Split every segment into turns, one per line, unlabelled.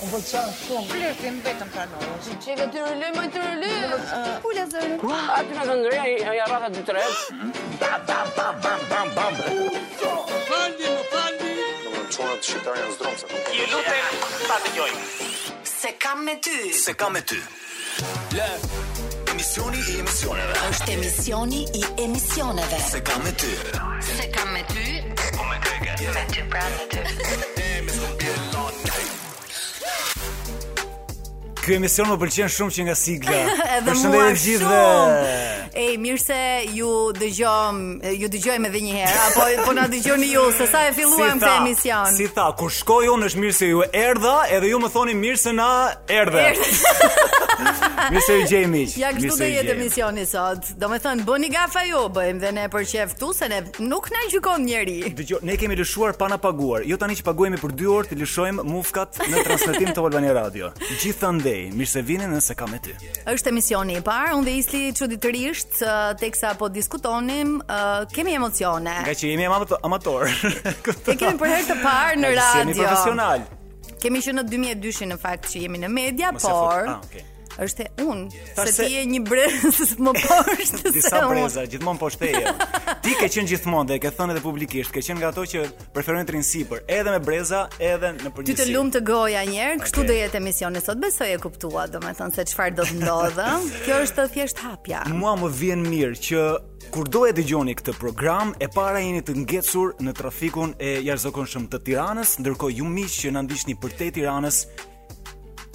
Më pëlqen shumë.
Flirtim vetëm pranoj.
Çeve dy rëlë, më dy rëlë.
Pula zërin.
Aty në këndëria ja rrata dy tre.
Domethënë çunat shqiptar janë zdromse.
Ju lutem, ta dëgjoj.
Se kam me ty
Se kam me ty. Lë. Emisioni i emisioneve.
është emisioni i emisioneve
Se kam me ty.
Se kam me ty
Po me keke.
Me ty pra me ty
Ky emision më pëlqen shumë që nga sigla.
Edhe mua
Përshëndetje të
shumë.
gjithëve.
Ej, mirë se ju dëgjom, ju dëgjojmë edhe një herë, apo po na dëgjoni ju se sa e filluam këtë emision.
Si tha, kur shkoj unë është mirë se ju erdha, edhe ju më thoni mirë se na erdhe. mirë se ju gjej miq.
Ja
mirë
kështu
se
do
ju
jetë
gjej.
emisioni sot. Do me thënë, bëni gafa ju, bëjmë dhe ne për qef tu, se ne nuk na gjykon njeri.
Dëgjoj, ne kemi lëshuar pa na paguar. Jo tani që paguhemi për 2 orë, të lëshojmë mufkat në transmetim të Albania Radio. Gjithandej, mirë se vini nëse kam me ty.
Është emisioni i parë, unë dhe Isli çuditërisht ë, teksa po diskutonim, ë, kemi emocione.
Nga që jemi amato- amator.
E kemi për herë të parë në
Jemi
radio.
profesional.
Kemi që në 2002-shin në fakt që jemi në media,
Mos e fut.
por
Ah, okay.
është e unë,
Tash
se
se-
ti je një brez më poshtë se
Disa
unë.
breza, gjithmonë po shteje. Ti ke qenë gjithmonë dhe e ke thënë edhe publikisht, ke qenë nga ato që preferojnë të rinë sipër, edhe me breza, edhe në
Ty
përgjithësi.
të lumë të goja njerë, kështu
Okej.
do jetë emisioni sot, besoj e kuptua, do me thënë se qëfar do të ndodhë. Kjo është thjesht hapja.
Mua më vjen mirë që kur do e dëgjoni këtë program, e para jeni të ngecur në trafikun e jashtëzakonshëm të Tiranës, ndërkohë ju miq që na ndiqni përtej Tiranës,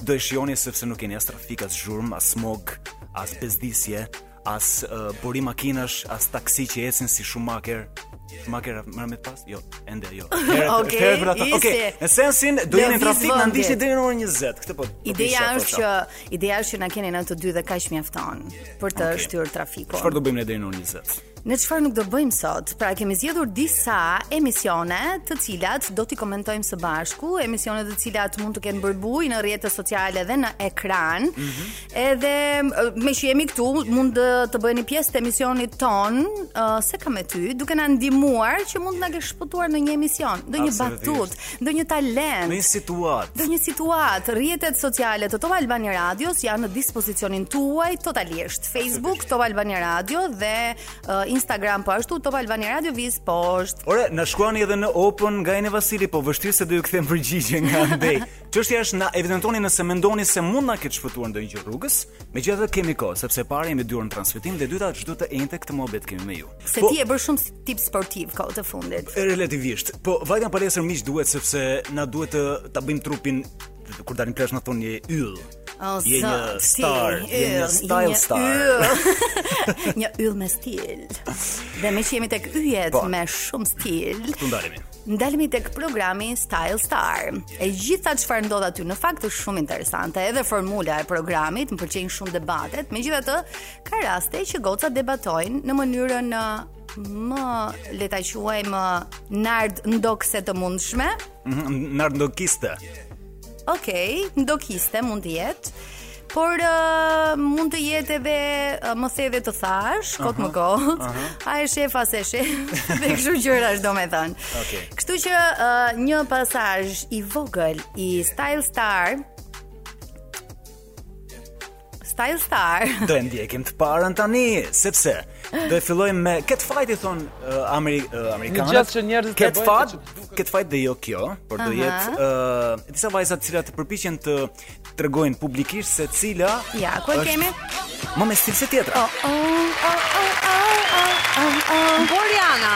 do e shihoni sepse nuk keni as trafik, as zhurmë, as smog, as bezdisje, as uh, burim makinash, as taksi që ecin si shumaker. Shumaker merr me të pas? Jo, ende jo.
Okej,
herët për ata.
isi.
Okej, në sensin do jeni
Lëviz
në trafik, na
vendi.
ndiqni deri në orën 20. Këtë po. po
Ideja
kisha, po
është që
isha.
ideja është që na keni në të dy dhe kaq mjafton për të
Okej.
shtyrë trafikun.
Çfarë do bëjmë ne deri në orën 20?
Në çfarë nuk do bëjmë sot? Pra kemi zgjedhur disa emisione të cilat do t'i komentojmë së bashku, emisione të cilat mund të kenë bërë bujë në rrjetet sociale dhe në ekran.
Mhm.
Edhe ë, me që jemi këtu, mund të, të bëheni pjesë të emisionit ton, ë, se kam me ty, duke na ndihmuar që mund të na kesh shpëtuar në një emision, ndonjë
Absolutisht.
batut, ndonjë talent.
Në një situatë
Dhe një situatë, rrjetet sociale të Top Albani Radios janë në dispozicionin tuaj totalisht. Facebook Top Albani Radio dhe uh, Instagram po ashtu Top Albani Radio viz poshtë.
Ore, na shkruani edhe në Open nga Ene Vasili, po vështirë se do ju kthem përgjigje nga ndej. Çështja është na evidentoni nëse mendoni se mund na ketë shpëtuar ndonjë gjë rrugës, megjithatë kemi kohë, sepse para jemi dyrën transmetim dhe dyta çdo të ente këtë mohabet kemi me ju. Po,
Se ti e bërë shumë si tip sportiv kohë të fundit.
relativisht, po vajta palesër miq duhet sepse na duhet të ta bëjmë trupin kur dalim plazh na thonë je yll.
O,
je një
zot, ti,
star, je
yll,
një style
një
star.
yll. një yll me stil. Dhe me që jemi tek yjet
Po.
me shumë stil.
Tu ndalemi.
Ndalemi tek programi Style Star. E gjitha çfarë ndodh aty në fakt është shumë interesante, edhe formula e programit, më pëlqejnë shumë debatet. Megjithatë, ka raste që goca debatojnë në mënyrën ë, më le ta quajmë nard ndokse të mundshme.
Mhm, Nardokiste.
Okej, ndokiste mund të jetë. Por uh, mund të jetë edhe uh, më theve të thash, kot më kot. A e shef as e shef. Dhe kështu gjërash domethënë.
Okej.
Kështu që uh, një pasazh i vogël i Style Star Style Star
Do e ndjekim të parën tani, sepse do e fillojmë me cat fight i thon uh, Ameri uh, amerikanët.
Një gjë që njerëzit e
cat
bëjnë
fight,
që
cat fight dhe jo kjo, por do jetë uh, disa vajza të cilat përpiqen të tregojnë publikisht se cila
Ja, ku e
është
kemi?
Më me stil se
Oh,
tjetra.
oh, oh, oh, oh, oh, oh, oh.
Boriana.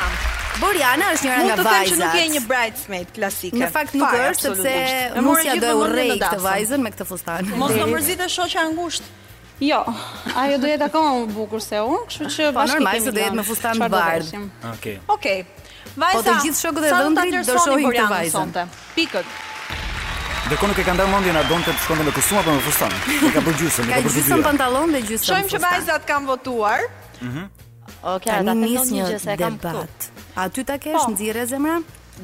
Boriana është njëra
Mund
nga
të them
vajzat.
që nuk je një bridesmaid klasike.
Në fakt nuk
Fare,
është sepse
absolutisht. E morë
Musja
gjithë
do e
vëmendjen
urrej
në
këtë
dasëm.
vajzën me këtë fustan.
Mos do mërzitë shoqja ngushtë.
Jo, ajo do jetë akoma më bukur se unë, kështu që
Po, normal se do jetë me fustan bardh.
Okej.
Okej. Vajza.
Po, të gjithë shokët e
sa do ta
dhëmbrit do
vlerësoni
shohin këtë
Borianën
vajzën.
sonte? Pikët.
Ndërkohë nuk e ka ndarë mendjen a donte të shkonte me kustum apo me fustan. E ka bërë gjysmë, e
Ka
ka bërë dy
gjysëm
dyra.
pantallon dhe gjysëm.
Shohim që
fustan.
vajzat kanë votuar.
Okej,
Tani
ata të
nis
një
një
gjë se e kam këtu.
debat. A ty ta kesh nxirë zemra?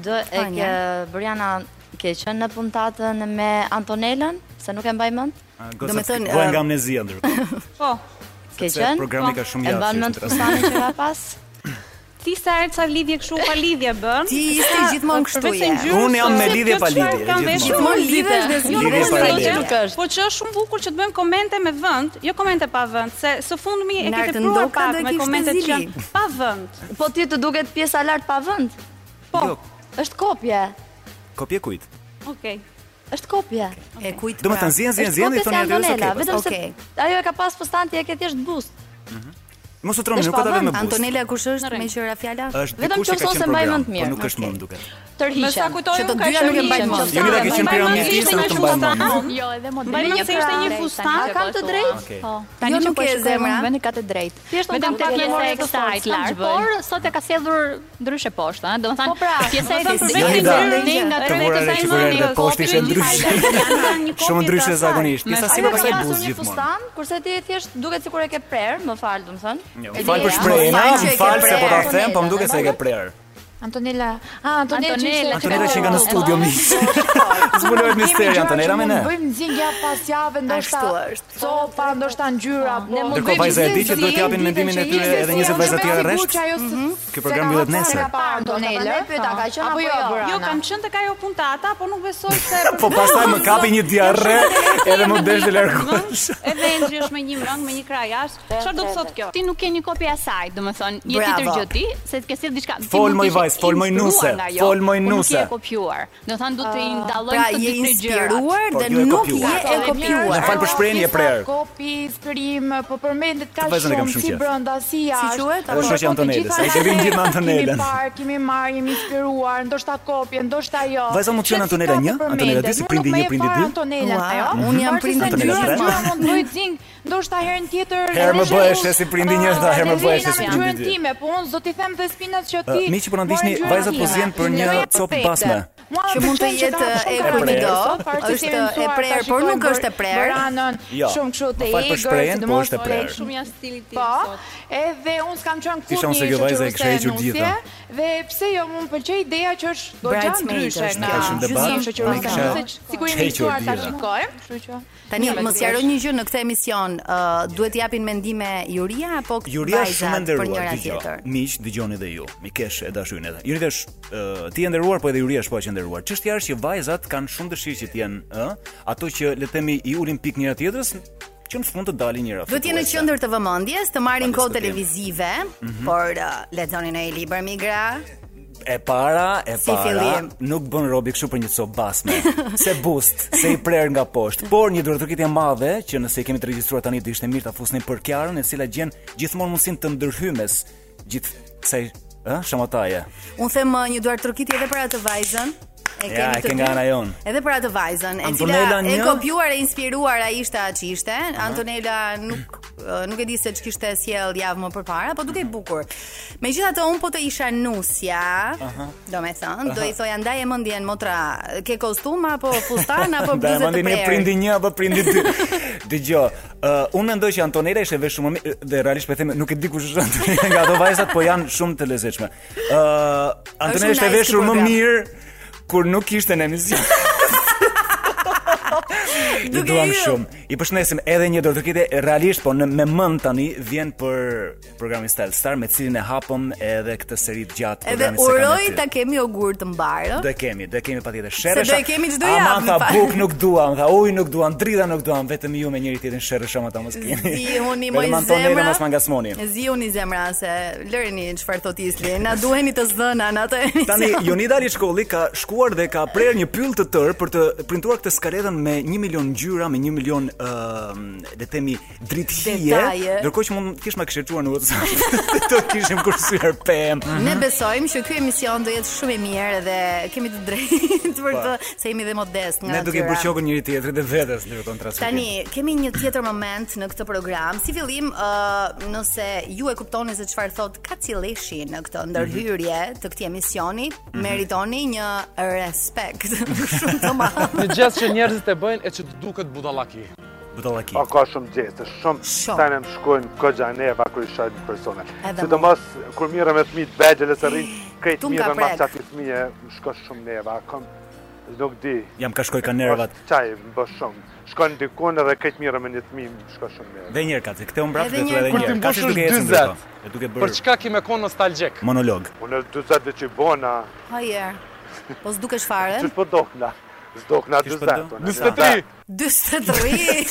Do e
Po,
ke Briana ke qenë në puntatën me Antonelën, se nuk e mbaj mend.
Do të
thënë,
thënë, po
ë,
nga amnezia ndërkohë.
Po.
Ke
Sepse
qenë?
programi ka shumë
E
jashtë,
mban
është
mend
interesant.
fustanin që ka pas?
ti sa herë ca lidhje kështu pa lidhje bën.
Ti ishe gjithmonë kështu
përveç
je.
ngjyrës,
Unë jam me
se
lidhje
kjo
pa
çfarë
lidhje,
kam
gjithmonë.
veshur,
Gjithmonë
unë
lidhesh
lidhe.
dhe
Jo,
zgjidhesh.
nuk
Lidhje
është
pa
se
lidhje.
nuk është. Po që është shumë bukur që të bëjmë komente me vend, jo komente pa vend, se së fundmi e
Nartë
ke provuar
ndoka
pak
do e
me
kishte
komentet që
zili.
janë pa vend.
Po ti të duket pjesa lart pa vend?
Po,
Jo,
Është kopje.
kopje kujt.
okay.
është kopje.
E kujt?
Do me
pra?
thënë zjen, zjen,
Është
zjen,
kopje
i
si
thoni Andreas,
Antonella,
okay,
vetëm
Okej.
se ajo e ka pas postanti e ke thjesht boost.
Mos u troni,
Është
nuk ka
pa
dalë me
vend,
bus.
Antonella kush është
rregull.
me qëra fjala?
Është
Vetëm
dikush që
qoftë
ka
ose
qenë
mbaj
program,
mend mirë.
po nuk është
Okej.
mund duket.
Me sa
Tërhiqen.
kujtoj
Që të
unë ka
dyja
qenë
nuk e mbajnë
një
mend.
fustan,
Jonida ka
e
qenë
mbajnë
piramidë,
mend se ishte një
ishte nuk e mbajnë
fustan.
mend.
Jo, edhe modeli.
Mbaj mend se ishte një
prandaj,
fustan.
tani
A
që
kam
po
të
e
drejtë?
Okej.
thua.
Tani
Jo,
që
nuk
po e
shikoj
zemra.
unë vendi ka të drejtë.
Thjesht unë
Vetëm
kam
ka
të
pjesë
pjesa
e
e
kësaj
kësaj
lart, por sot e ka sjellur ndryshe poshtë, ëh, domethënë
Po pra,
pjesa e
domethënë
kësaj
përveç
Jonida,
një nga
të
tërmet e
morën e
kësaj
që kur erdhe
mëni,
poshtë ishte
kopje
ndryshe.
gjithaj, domethënë janë një kopje
Shumë ndryshe
të asaj.
zakonisht. Pjesa si
Ajo
po
ka
pasaj
pasur
bus
një
gjithmonë.
fustan, kurse ti thjesht duket sikur e ke prerë, më fal, domethënë.
Më Jo. Fal për shprehjen,
Më fal që
më
e ke
fal se po ta
prerë.
them, po më duket se e ke prerë.
Antonella, ah, Antonella, që ishte-
Antonella që nga në studio miq. Zbulohet misteri Antonella me ne.
Bëjmë nxjingja pas jave, ndoshta
Ashtu është.
copa, ndoshta ngjyra, po.
Ndërkohë vajza e di që duhet t'japin mendimin e tyre edhe 20 vajza tjera rresht. Ky program
pra
mbytet nesër.
Antonella,
pyeta ka qenë apo jo?
Jo, kam qenë tek ajo puntata, po nuk besoj se
Po pastaj më kapi një diarre edhe më desh të largohesh.
Edhe Endri është me një mëng, me një krah jashtë. Çfarë do të thotë kjo?
Ti nuk je një kopje e saj, domethënë, je
Bravo.
tjetër gjë ti, se të ke sjell diçka. Ti
Fol,
mund
moj
t'ishe
vajz, fol, moj
inspiruar
nuse,
nga ajo,
fol, moj
po
nuse.
Nuk je kopjuar. Domethënë duhet të i ndallojmë
Pra
këto
je
dy tre gjëra.
inspiruar
Po,
dhe
jo e
nuk
kopjuar.
je e
Më
kopjuar.
fal për shprehjen, je prerë.
Kopi, inspirim, po përmendet ka
Të vajzën e kam shumë
si
qef.
brenda si jashtë.
quhet?
Po,
Është shoqja
po, të
Antonelës,
gjitha
e kemi
ne
gjithë me Antonelën.
Kemi parë, kemi marrë, jemi inspiruar, ndoshta kopje, ndoshta jo.
Vajza mund të qenë
Që
Antonela
s'ka të
një,
përmendet.
Antonela dy, si
Unë
prindi
nuk
një,
me e
prindi
fara
dy.
Antonela,
Ua,
ajo.
unë jam
Varësisht
prindi
se
Antonela
ngjyra,
tre.
ngjyra mund bëj zing, ndoshta herën tjetër.
Herë më
ndoshta
bëhesh
u-
e si prindi një,
Ah,
dhe herë më
Valentina
bëhesh e si
me
prindi
gjyrën
dy.
time, po unë zoti them dhe spinat që ti.
Ë, miq, po na
morë
ndiqni,
gjyrën
vajzat po
time.
zjen për një
Gjyra
copë
perfekte.
basme.
Mua
Që mund të
pëlqen që
jetë
ka shumë
e
karakter,
prerë.
sot, parë që
Është
kemi mësuar,
e
ta
prerë, por
shikojmë
nuk
bër-
është e prerë.
Bëranën,
Jo,
shumë kështu
më
të
fal për
egër,
shprehjen, po
sidomos
është e
po
prerë.
shumë
jashtë stilit tim
Po,
sot.
edhe unë s'kam qenë
Si
kur
shonë se
një
kjo vajza e
shoqëruese
kishte hequr
nusje,
gjitha.
Dhe pse jo, më pëlqej ideja që është goxha
Bridesmaid
ndryshe
është
nga
kjo. Ka shumë debat,
gjithë shoqëruese
unë kisha
nuse, sikur jemi
hequr
mësuar ta
gjitha.
shikojmë, kështu që
Tani
Mirë,
mos jaro një gjë në këtë emision, ë, duhet të japin mendime juria apo
Juria është shumë e
vajzat për
nderuar,
njëra
dëgjoj.
tjetër.
Miq, dëgjoni dhe ju. Mikesh e dashurin edhe. Juria është ë, ti e nderuar, po edhe Juria është paqë e nderuar. Çështja është që vajzat kanë shumë dëshirë që të jenë, ë, ato që le të themi i ulin pikë njëra tjetrës, që në fund të dalin njëra.
Duhet jenë në
fituese.
qendër të vëmendjes, të marrin
Pa
kohë
diskutim.
televizive, por uh, lexoni në një libër migra.
E para, e
Si
para,
fillim?
nuk bën robi kështu për një copë basme. se bust, se i prerë nga poshtë, por një dorëtërkitje e madhe që nëse i kemi të regjistruar tani do ishte mirë ta fusni për Kiarën, e cila gjen gjithmonë mundsinë të ndërhymes gjithë kësaj ë shamataje.
Unë them ë, një duar trokitje edhe për atë vajzën. E
Ja, e
të
ke
dy.
nga ana jon.
Edhe për atë vajzën, e cila
Antonella
e
një?
kopjuar e inspiruar ai ishte atë që ishte. Antonella nuk ë, nuk e di se ç'kishte sjell javë më përpara, po duke i bukur. Megjithatë un po të isha nusja, do me thënë, do i thoja ndaj e mendjen motra, ke kostum apo fustan apo
Da e
bluzë po të
mandi një
prerë.
prindi një apo prindi dy. Dëgjoj, uh, unë mendoj që Antonella ishte vesh shumë mirë dhe realisht po them nuk e di kush është Antonella nga ato vajzat, po janë shumë të lezetshme. Ë uh,
Është
Antonella ishte
nice
veshur
ky
më
program.
mirë kur nuk ishte në emision. Ju
Duke
duam
hyll.
shumë. I përshëndesim edhe një dorëkite realisht, po në me mend tani vjen për programin Style Star me cilin e hapëm edhe këtë seri të gjatë
Edhe
programit se kam me
uroj
ty.
ta kemi jogurt të mbarë.
Do e kemi, do e kemi patjetër. Sherrësha.
do e kemi çdo javë,
Aman
më
tha
fal.
buk nuk duam, tha uj nuk duam, drita nuk duam, vetëm ju me njëri tjetrin sherrësha më ta mos keni.
Zi uni
Vetëm
moj
Antonella
zemra.
mos ma ngasmoni.
Zi uni zemra se lëreni çfarë thot Isli. Na duheni të zdëna në atë emision.
Tani Jonida Ali Shkolli ka shkuar dhe ka prerë një pyll të tërë për të printuar këtë skaletën me 1 milion ngjyra, me 1 milion ë le të themi drithije,
Detaje.
ndërkohë që mund të kish ma këshëtuar në WhatsApp. të kishim kursyer PM.
Ne besojmë që ky emision do jetë shumë i mirë dhe kemi të drejtë për të se jemi dhe modest nga
Ne duke i
natyra.
përqokur njëri tjetrit dhe vetes ndërkohë në transmetim.
Tani kemi një tjetër moment në këtë program. Si fillim, ë nëse ju e kuptoni se çfarë thot Kacilleshi në këtë ndërhyrje
Mhm.
të këtij emisioni, meritoni një respekt shumë të madh.
Në gjithë që njerëzit e bëjnë e që të duket budallaki.
Budallaki.
Po ka shumë gjeste, shumë
Shumë.
tani më shkojnë kogja neva kur i shoh një persona.
Edhe
Sidomos kur mirë me fëmijë të vegjël se rrin krejt
Tu m'ka
mirë me
prek.
çati fëmijë, më shkon shumë neva. Kam Nuk di.
Jam ka shkoj ka nervat.
Është Çaj, më bë shumë. Shkon dikun edhe këtë mirë me një të mi, më shko shumë mirë.
Dhe njerë kaci, këte unë brapë
Edhe
dhe thua
njerë.
edhe
Kur ti
njerë. Kaci
mbushësh
duke ecën
40.
brapa, e duke
Për
bërë
çka kime kon nostalgjik?
monolog.
Unë e 40 dhe që i bona,
Hajer. Po s'dukesh fare.
që po dokna. Zdokna 40. unë,
43.
43.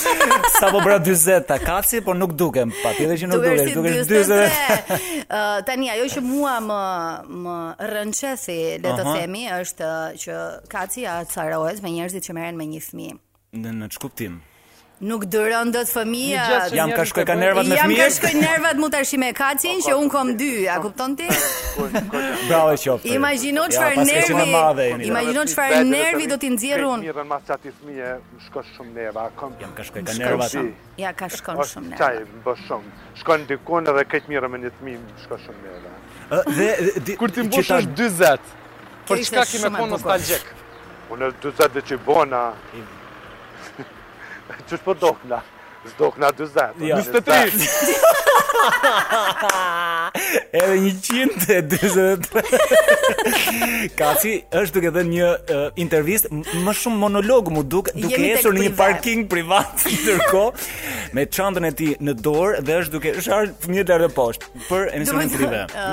Sa po bra 40 ta kaci, por nuk dukem. Pa tjetër që nuk
Dukesh
dukesh,
si
dukesh
43.
40.
Ë, tani ajo që mua më më rënqethi, le të
Aha.
themi, është ë, që kaci acarohet me njerëzit që merren me një fëmijë.
Në në çkuptim.
Nuk dëron dot fëmija.
Jam ka shkoj ka nervat me Po,
Jam ka
fëmijët.
shkoj nervat mu tash me kacin që un kom dy, a kupton ti?
Bravo qoftë.
Imagjino çfarë
pas
nervi-
keshim e madhe jeni.
imagjino
Vetëm
çfarë
vetëm
nervi do t'i nxjerrë unë.
Krejt mirën mas ati fëmije, më shko shumë neva. Kom, Jam
ka shkoj ka nervat. Po,
Ja ka shkon shumë nerva.
Qaj, më bë shumë. Shkon dikun edhe këtë mirë me një të mi, më shko shumë neva.
Dhe
kur ti
që
mbush
ta-
është 40.
Kjo
po,
Për
ishte
çka kime kon
shumë e bukur.
nostalgjik?
Unë e 40 dhe që i bona, që shpo dokna. Zdokna 40. unë
Ja.
43.
Edhe 143. Kaci është duke dhënë një uh, intervistë m- më shumë monolog mu duk, duke
Jemi tek
ecur në një
privat.
parking privat ndërkohë me çantën e tij në dorë dhe është duke është ardhur fëmijët lart e poshtë për emisionin prive.
uh,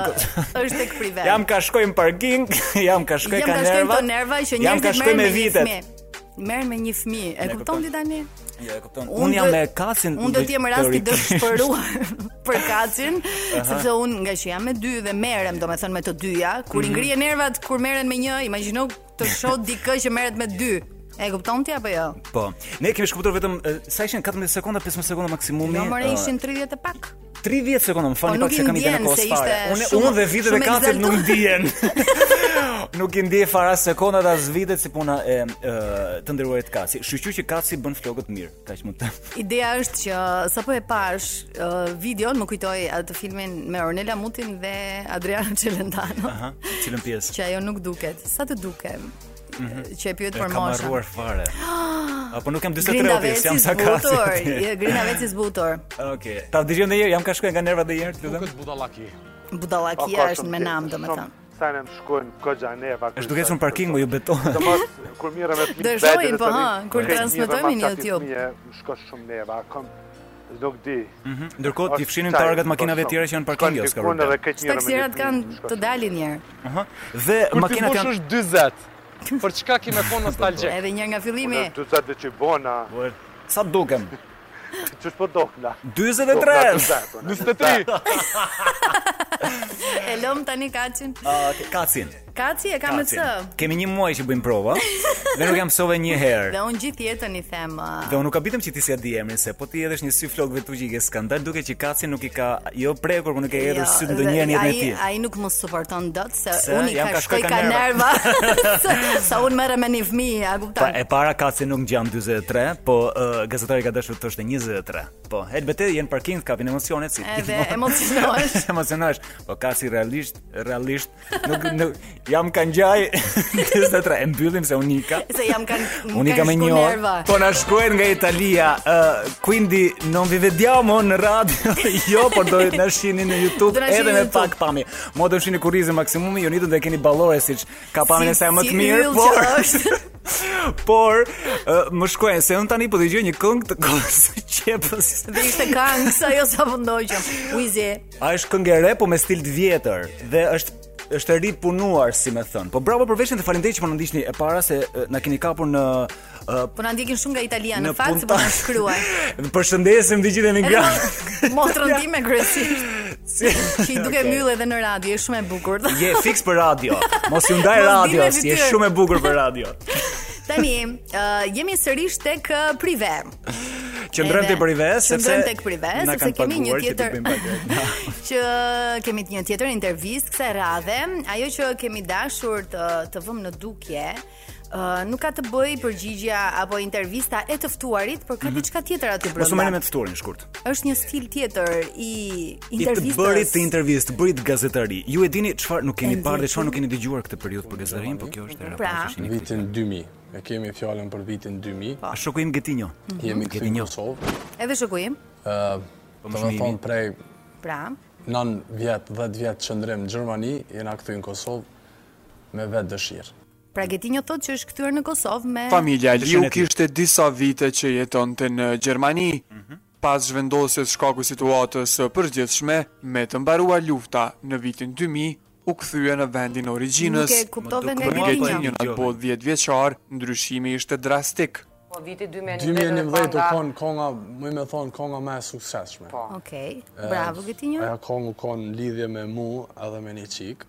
Është tek prive.
Jam ka shkoj në parking, jam ka shkoj
Jam
ka
ka shkojnë
nerva.
këto nerva që
jam ka
njerëzit
shkoj
merren me
me
një
vitet.
fëmijë. Merren me një fëmijë. E
Ne
kupton ti tani?
Jo, e kupton.
Unë
Unë jam
do-
me Kacin.
Unë do të jem rasti
teorik-
dëshpëruar për kacin,
Aha.
sepse unë nga që jam me dy dhe merrem domethënë me të dyja, kur i
Mhm.
ngrihen nervat kur merren me një, imagjino të shoh dikë që merret me dy. E kupton ti apo jo?
Po. Ne kemi shkëputur vetëm e, sa ishin 14 sekonda, 15 sekonda maksimumi.
Jo, more
e,
ishin 30 e pak.
30 sekonda, më falni
Po, nuk
pak se
i
kam ide në
ndjen,
kohë
se
fare.
ishte
Unë
shumë-
unë dhe vitet e
shumë
kacit nuk
egzaltuar.
ndihen. nuk i ndje fara sekondat as vitet si puna e, e të nderuarit kaci. Shqyqy që kaci bën flokët mirë, kaq mund të.
Ideja është që sapo e pash uh, videon, më kujtoj atë filmin me Ornella Mutin dhe Adriano Celentano,
Aha, cilën pjesë?
që ajo nuk duket. Sa të dukem?
Mhm.
Që e pyet
E
për
Kam
moshën.
harruar fare.
Ah,
Apo nuk jam 43
Grinda
otis, jam
Veci
sa kaci.
zbutur. Je, Grinda Veci zbutur.
Okej. Ta dëgjojmë edhe një herë, jam ka shkruaj nga nervat edhe një herë, lutem. Flokët
budallaki.
Budallakia është me nam, domethënë.
Sa ne më shkojnë kogja neva.
Është duke ecur në parking, po ju betohem.
Domos kur mirë me fëmijë.
Dëshojnë,
vetë,
po,
dhe
ha,
tani,
kur
këtë
transmetojmë në
mirë, mas
YouTube.
ati fëmije, Më shko shumë neva. Kom, nuk di.
Mhm. Ndërkohë ti
Është
fshinim
qaj,
targat
po,
makinave
shumë.
tjera që janë parking jo,
Shkon
s'ka
dikun
problem.
edhe këtë mirë me
Taksirat
një
kanë të dalin një herë.
Aha. Dhe
Kur ti
makinat
mbush
janë
është 40. Për çka kime kon nostalgjik?
Edhe një nga fillimi.
Unë 40 dhe që i bona. po
Sa dukem?
Që shpo dokna.
43.
43.
E lëm tani Kacin.
Ah, ke- kacin.
Kaci e ka me
Kacin.
C.
Kemi një muaj që bëjmë prova dhe nuk jam sove një herë.
Dhe unë gjithë jetën i them. uh,
Dhe unë nuk habitem që ti s'ja di emrin se po ti edhesh një sy flokëve tu që i ke skandal, duke që kaci nuk i ka jo prekur, por nuk e hedhur
jo,
syt
dhe
ndonjëherë në jetën e
ai-
tij.
Ai nuk më suporton dot se
Se
unë i
jam
ka
ka
shkoj
shkoj
ka
ka
nerva. Se- Sa unë merrem me një fëmijë, a
Pa
kupton?
e para kaci nuk ngjan 43, po uh, gazetari ka dashur të thoshte 23. Po, helbete janë parking, kapin emocione si.
Edhe emocionohesh.
emocionohesh. Po kaci realisht, realisht nuk, nuk jam ka ngjaj 43. E mbyllim se unika.
Se jam kanë
Unika me një orë. Po na shkruajnë nga Italia, uh, quindi non vi vediamo në radio, jo, por do na shihni në YouTube
Do na shihni
edhe
në
me
YouTube.
pak pamje. Mo do shihni kurrizin maksimumi, ju nitën dhe keni ballore siç ka pamjen e saj më të mirë,
yll
por
që është.
por uh, më shkruajnë se un tani po dëgjoj një këngë të kohës së qepës.
Dhe ishte këngë sa jo sa vëndoqëm. Uizi,
A është këngë e re po me stil të vjetër dhe është është ripunuar si më thën. Po bravo për veshjen dhe faleminderit që po na ndiqni e para se uh, na keni kapur në uh,
po na ndjekin shumë nga Italia në
Në
fakt se po na
punta-
shkruaj.
Përshëndesim të gjithë emigrantë.
Motrën time kryesisht. Që i duke
Okej.
mbyllë edhe në radio, është shumë e bukur.
Je fiks për radio. Mos ju
Mos
ndaj
bime
radios, je
fytyrë.
shumë e bukur për radio.
Tani, uh, jemi sërish tek uh, prive.
Qëndrojmë
Edhe,
tek prive sepse
qëndrojmë tek prive,
na
sepse
kanë
kemi një
paguar që të
tjetër-
bëjmë pagat.
Që kemi një tjetër intervistë kësaj radhe, ajo që kemi dashur të të vëmë në dukje, Uh, nuk ka të bëj përgjigja apo intervista e të ftuarit, por ka diçka tjetër aty
Mhm. Mos u merrni
brenda.
me të ftuarin shkurt.
Është një stil tjetër i
I të
intervistës.
bërit të intervistë, bërit gazetari. Ju e dini çfarë nuk keni
E
parë dhe
ndjekim.
çfarë nuk keni dëgjuar këtë periudhë për gazetarin, po kjo është era
Pra.
pasojë.
Vitin 2000, e kemi fjallën për vitin 2000.
A shoku im Mhm. Getinjo.
Mhm. Jemi këtu në Kosovë.
Edhe shoku im.
Uh, të më
po shumë
thonë prej
Pra,
9 vjetë, 10 vjetë qëndrim në Gjermani, jena këtu në Kosovë me vetë dëshirë.
Pra Getinjo thotë që është kthyer në Kosovë me
Familja Liu
Dyshin e tij.
kishte disa vite që jetonte në Gjermani. Pas zhvendosjes shkaku situatës së përgjithshme, me të mbaruar lufta në vitin 2000, u kthye në vendin
Nuk
origjinës.
e kuptove nga
Në
Getinjo.
Getinjon
Jo.
atë po 10 vjeçar, ndryshimi ishte drastik.
Po viti 2011
2011 u konë konga, më me thonë konga me e sukseshme. Po.
Okej, bravo Getinjo.
Aja kongu konë lidhje me mu edhe me një qikë.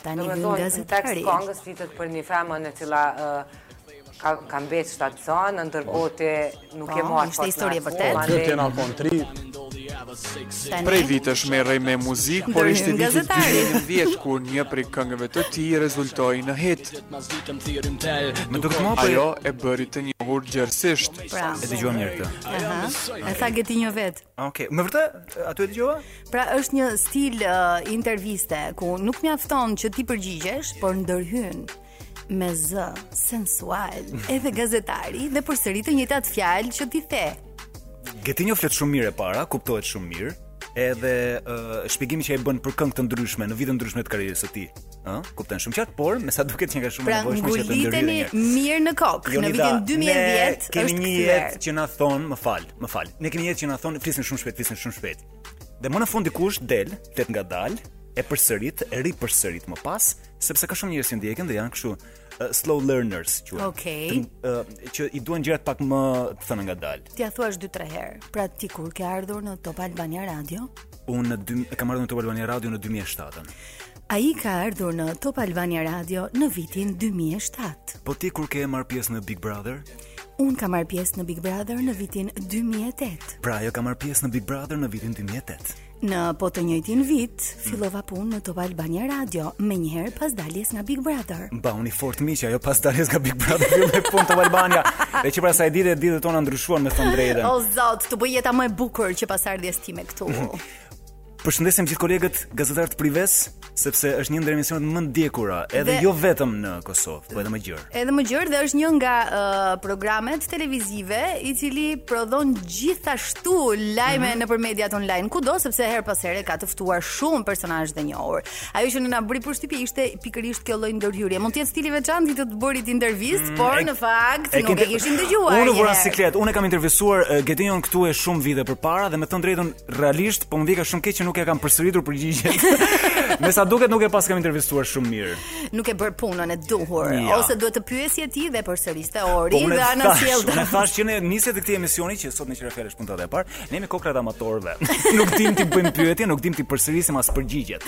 Tani
Do me
vjen
thonë, në
gazetari.
tekst kongës flitet për një femën e cila ë, ka, ka mbetë shtatë zonë, ndërkote nuk e
Po,
marrë
ishte histori e vërtet.
Po, dytë jena konë tri,
Prej vitesh me rej me muzikë, por
Ndërhyn
ishte vitit
gazetari.
2010 kur një prej këngëve të tij rezultoi në hit.
Më duket mua po-
ajo e bëri të njohur gjerësisht.
Pra.
E dëgjuam njërë këtë.
Aha. E tha Getinjo vet.
Okej, me vërtet aty e dëgjova?
Pra është një stil ë, interviste ku nuk mjafton që ti përgjigjesh, por ndërhyn me z sensual, edhe gazetari dhe përsëri të njëjtat fjalë që ti the.
Getinjo flet shumë mirë e para, kuptohet shumë mirë, edhe uh, shpjegimi që ai bën për këngë të ndryshme në vite ndryshme të karrierës së tij, ë, kupton shumë qartë, por me sa duket që ka shumë
Pra
nevojshme që të ndërhyrë
nguliteni
një herë.
mirë në kokë. Në
Jonida,
vitin 2010
ne kemi
është
një
kthyer.
jetë që na thon, më fal, më fal. Ne kemi një jetë që na thon, flisin shumë shpejt, flisin shumë shpejt. Dhe më në fund dikush del, flet nga dal, e përsërit, e ripërsërit më pas, sepse ka shumë njerëz që ndjekin dhe janë kështu uh, slow learners quhen.
Okej.
Të- ë, që i duan gjërat pak më të thënë nga dal.
Ti ja thuash 2-3 herë. Pra ti kur ke ardhur në Top Albania Radio,
Unë në dy, e kam ardhur në Top Albania Radio në 2007.
ai ka ardhur në Top Albania Radio në vitin 2007.
Po ti kur ke marr pjesë në Big Brother?
Unë kam marrë pjesë në Big Brother në vitin 2008.
Pra ajo ka marr pjesë në Big Brother në vitin 2008.
Në po të njëjtin vit, fillova punë në Top Albania Radio, me njëherë pas daljes nga Big Brother.
Mba unë i fort miq, ajo pas daljes nga Big Brother filloi me punë të Albania. Dhe që pra sa e ditë ditët tona ndryshuan me thënë drejtën.
O zot, të bëj jeta më e bukur që pas ardhjes time këtu.
Përshëndesim gjithë kolegët gazetarë të prives, sepse është një ndër emisionet më ndjekura, edhe
Dhe-
jo vetëm në Kosovë, po edhe më gjerë.
Edhe më gjërë dhe është një nga uh, programet televizive i cili prodhon gjithashtu lajme
Mhm.
nëpër mediat online kudo sepse her pas here ka të ftuar shumë personazhe të njohur. Ajo që në na bëri përshtypje ishte pikërisht kjo lloj ndërhyrje. Mund të jetë stili veçantë i të të bërit intervistë,
Mm,
por në fakt nuk e
kinte-
kishin dëgjuar.
Unë vura
njëherë.
siklet, unë e kam intervistuar uh, Getinjon këtu e shumë vite përpara dhe me të drejtën realisht po më vjen shumë keq që nuk e kam përsëritur përgjigjet. me sa duket nuk e pas kam intervistuar shumë mirë.
nuk e bër punën e duhur
Ja.
ose duhet të pyesje ti dhe përsëriste ori
Po unë e
dhe ana
thash, Unë e
sjellta.
thash që ne nisjet e këtij emisioni që sot në qira fjalësh punta e parë, ne jemi kokrat amatorëve. nuk dim ti bëjmë pyetje, nuk dim ti përsërisim as përgjigjet.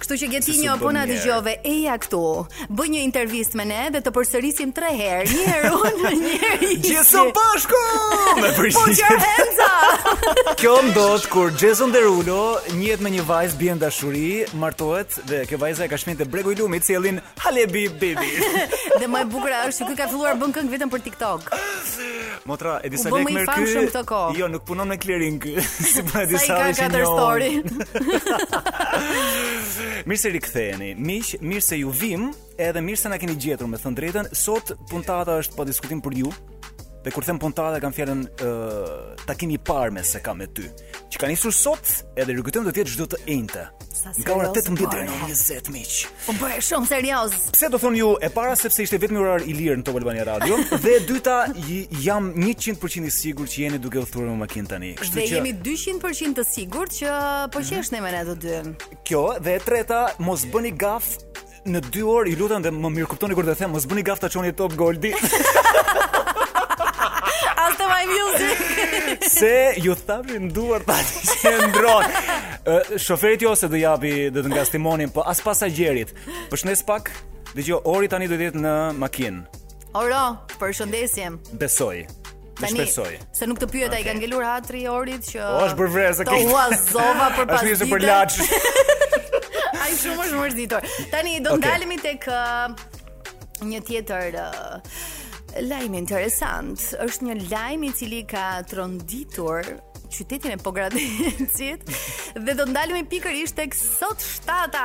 Kështu që
Se
Getinjo
s'u
po na
bën mirë.
dëgjove eja këtu. Bëj një intervistë me ne dhe të përsërisim 3 herë, një herë unë, një herë.
Gjithsë bashku! Me
Po
përgjigje.
çfarë Enza?
Kjo ndodh kur Jason Derulo njihet me një vajzë, bie në dashuri, martohet dhe kjo vajza e ka shpinë te bregu i lumit, sjellin Halebi Baby.
dhe më e bukur është që ky ka filluar bën këngë vetëm për TikTok.
Motra, e disa
U bë
lek
më i
merr
famshëm
ky.
këto kohë.
Jo, nuk punon me clearing ky. Si pra
Sa i
disa
ka
dhe që
katër
njohën.
story.
Mirë se riktheheni. Miq, mirë se ju vim, edhe mirë se na keni gjetur, me thënë drejtën. Sot puntata është pa diskutim për ju. Dhe kur them puntata kam fjalën ë takimi i parë me se kam me ty. Që ka nisur sot, edhe rikujtojmë do të jetë çdo të enjte. Nga ora 18 deri në 20 miq.
Po bëre shumë serioz.
Pse do thonë ju e para sepse ishte vetëm orar i lirë në Top Albania Radio dhe e dyta i- jam 100% i sigurt që jeni duke u thurur me makinë tani. Kështu
Dhe
që Mhm.
jemi 200% të sigurt që po qesh ne me ne të dy.
Kjo dhe e treta, mos bëni gaf në 2 orë, ju lutem dhe më mirë kuptoni kur të them, mos bëni gaf ta çoni Top Goldi,
Asta my music.
se ju thapin duart tani që e ndron. Ë, Shoferit jo se do japi, do të ngashtimonin, po as pasagjerit. Përshëndes pak. Dgjoj, ori tani do të jetë në makinë.
Oro, përshëndesjem.
Besoj. Me
Tani,
shpresoj.
se nuk të pyet ai ka ngelur hatri i orit që
O, Po, është bërë vrezë,
Të
Kate.
huazova për
Është
pas
nisur për laç.
Ai shumë është mërzitor. Tani do
Okej.
ndalemi tek ë, një tjetër ë, lajm interesant. Është një lajm i cili ka tronditur qytetin e Pogradecit dhe do ndalemi pikërisht tek sot shtata.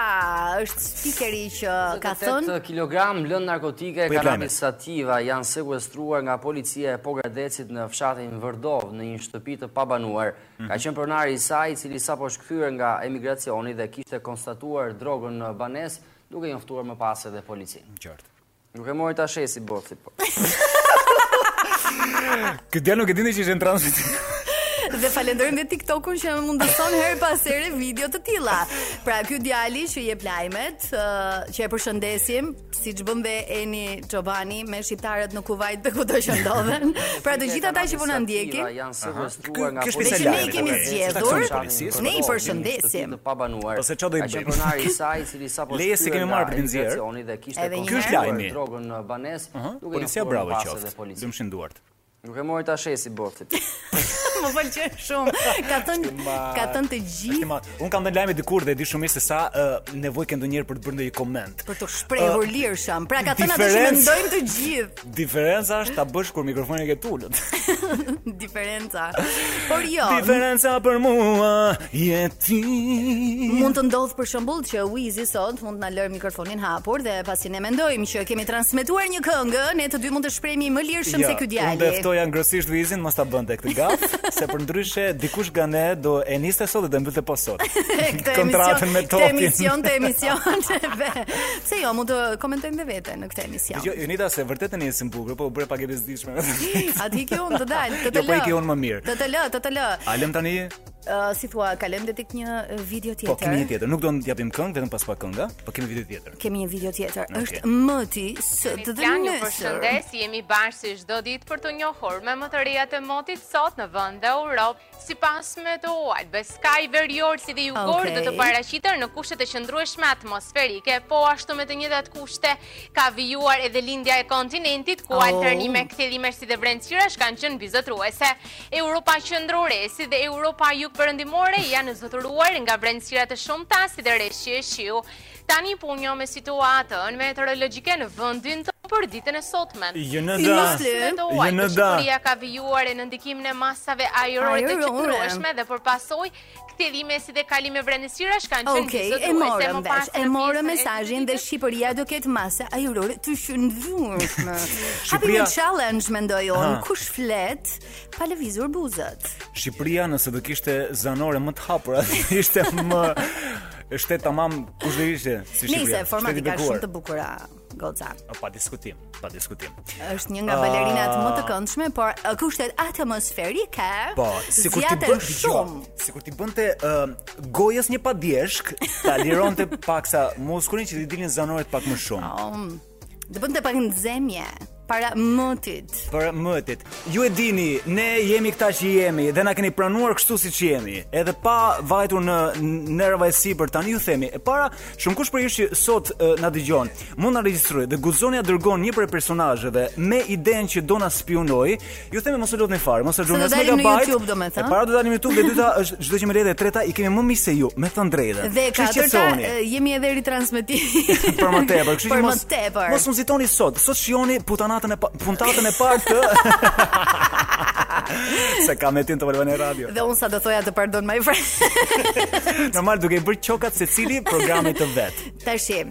Është spikeri që ka thënë
8 kilogram lënd narkotike
Po, i
kanabis sativa janë sekuestruar nga policia e Pogradecit në fshatin Vërdov në një shtëpi të pabanuar.
Mm.
Ka qenë pronari i saj, i cili sapo është kthyer nga emigracioni dhe kishte konstatuar drogën në banes, duke njoftuar më pas edhe policinë.
Qartë.
Nuk e mori ta shesi bothi, po.
Këtë djalë nuk e dinte që ishte në transit.
Dhe falenderojmë dhe TikTokun që më mundëson her pas here video të tilla. Pra ky djali që jep lajmet, ë, që e përshëndesim, siç bën dhe Eni Çobani me shqiptarët në Kuwait dhe kudo që ndodhen. Pra të gjithë ata që po na ndjekin,
janë
Ky-
sekuestruar nga
ky është
policia.
special
e
lajmi,
Kosovës.
po, e,
Taksonë
taksonë
policisë.
policisë.
ne i përshëndesim.
Të pabanuar.
Ose ç'o do i
Ka
bëjmë?
qenë pronari i saj, i cili sapo
Leje se
shkryen
kemi
nga
marrë për të nxjerrë.
emigracioni dhe kishte
Edhe një
konfliktuar
herë. Ky është lajmi.
drogën në banes, duke
Policia
informuar
bravo
paset
qoftë.
e policisë.
Dëmshin duart.
Nuk e mori ta shesi bothi.
Më pëlqen shumë. Ka thënë ka thënë të gjithë
Un kam dhënë lajme dikur dhe e di shumë mirë se sa uh, nevojë ke ndonjëherë për të bërë ndonjë koment.
për të shprehur
Ë,
lirshëm. Pra ka thënë atë që
diferencë-
mendojmë të gjithë.
Diferenca është ta bësh kur mikrofonin e ke tulët.
Diferenca. Por jo.
Diferenca për mua je ti.
Mund të ndodh për shembull që Wizi sot mund na lërë mikrofonin hapur dhe pasi ne mendojmë që kemi transmetuar një këngë, ne të dy mund të shprehemi më lirshëm se ky
Unë do
djali.
e ftoja ngrësisht Luizin mos ta bënte këtë gaf, se përndryshe dikush nga ne do e niste sot dhe do e mbylte po sot.
Këtë
kontratën
emision-
me
Këtë
Totin.
emision, të emision. Dhe pse jo, mund të komentojmë dhe veten në këtë emision.
Jo, Unita se vërtet e nisi në bukur, po u bëre pak e bezdishme.
Atë i ke unë të dal, të të
Jo, po
lë.
i ke unë më mirë.
Të të lë, të të lë.
A lëm tani?
Ë, si thua, kalojmë dhe tek një eh, video tjetër.
Po kemi një tjetër. Nuk do të japim këngë vetëm pas pa kënga, po kemi video tjetër.
Kemi një video tjetër.
Okej.
Është mëti së të dhe
Plan ju
nësër.
përshëndes, jemi bashkë si çdo ditë për të njohur me më të rejat e motit sot në vend dhe Europë, sipas me të uaj, beskaj verior si dhe jugor
Okej.
do të paraqiten në kushte të qëndrueshme atmosferike, po ashtu me të njëjtat kushte ka vijuar edhe lindja e kontinentit ku
Oh.
alternime, kthjellime si dhe brendësirash kanë qenë bizotëruese. Europa qendrore si dhe Europa jugperëndimore janë zotëruar nga brendësira të shumta si dhe reshqi e shiu. Tani po njoh me situatën meteorologjike në vendin të për ditën e sotme.
Jo në da. Jo në da.
Shqipëria ka vijuar e në ndikimin e masave ajrore të
Ajrore.
qëtërueshme dhe për pasoj këtëllime si dhe kalime brendësirash kanë qenë
Okej,
bizotruese,
e morëm
më
vesh,
pas
e
në
morëm
pjesën e
mesazhin dhe Shqipëria do ketë masa ajrore të shëndrueshme. Hapi një
Shqipëria-
challenge mendoj unë,
Aha.
kush flet pa lëvizur buzët.
Shqipëria nëse do kishte zanore më të hapura, ishte më ishte tamam kush do ishte si Shqipëria.
Nëse formati ka shumë të
bukur.
bukura, goca.
Pa diskutim, pa diskutim.
Është një nga
Ah.
balerinat më të këndshme, por ë, kushtet atmosferike.
Po, sikur ti
zjaten
bën
shumë.
shumë, sikur ti bënte uh, gojës një padjeshk, ta lironte paksa muskulin që ti dilin zanoret pak më shumë.
Um, Dhe bënte pak nxemje para mëtit.
Për mëtit. Ju e dini, ne jemi këta që jemi dhe na keni pranuar kështu siç jemi. Edhe pa vajtur në nerva e sipër tani ju themi, e para shumë kush për ju që sot e, na dëgjon, mund na regjistrojë dhe guxoni ja dërgon një prej personazheve me idenë që do na spionoj. Ju themi mos e lutni fare, mos e
Se do
lutni as
dalim në
megabajt.
YouTube, domethënë.
E para do dalim në YouTube dhe dyta është çdo që më le dhe e treta i kemi më mirë se ju, me thënë drejtën.
Dhe
Kështu që
katërta
qetësoni.
e, jemi edhe ritransmetimi.
për më tepër, kështu që
Për më
mos
tepër.
mos u nxitoni sot. Sot shihoni putanatën e pa- puntatën e parë të Se kam etin të valvan e radio
Dhe unë sa do thoja të pardon my friend.
Normal duke i bërë qokat se cili programit të vetë
Tashi,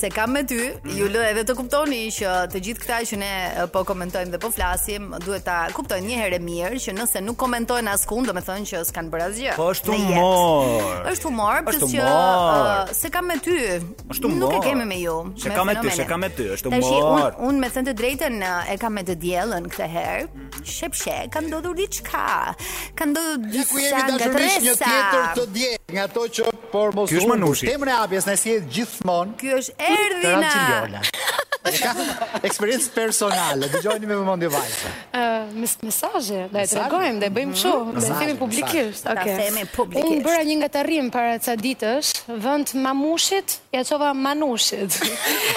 se kam me ty,
Mhm.
ju lë edhe të kuptoni që të gjithë këta që ne e, po komentojmë dhe po flasim, duhet ta kuptojnë një herë mirë që nëse nuk komentojnë askund, do të thonë që s'kan bërë asgjë.
Po është
në jetë.
humor.
Është humor,
Është
plus që
humor.
ë, se kam me ty.
Është humor.
Nuk e kemi me ju.
Se kam me ty,
fenomene.
se kam me ty, është
Tashi,
humor.
unë un me thënë të drejtën e kam me të diellën këtë herë.
Mhm.
Shep shep, ka ndodhur diçka. Ka ndodhur
Ja ku jemi
diçka nga të
dashurisht një tjetër të dje nga ato që por mos
Ky është
humbur.
Manushi.
Temën e hapjes na sjell gjithmonë.
Ky është Erdhina.
Eksperiencë personale, dëgjojeni me vëmendje vajza.
mes mesazhe, da e
Mesazhe?
tregojmë, da e bëjmë kështu,
Mhm.
da e themi
Mesazhe,
mesazhe.
publikisht.
Ta
Okej.
themi publikisht.
Unë bëra një ngatërrim para ca ditësh, vend mamushit, ja çova manushit.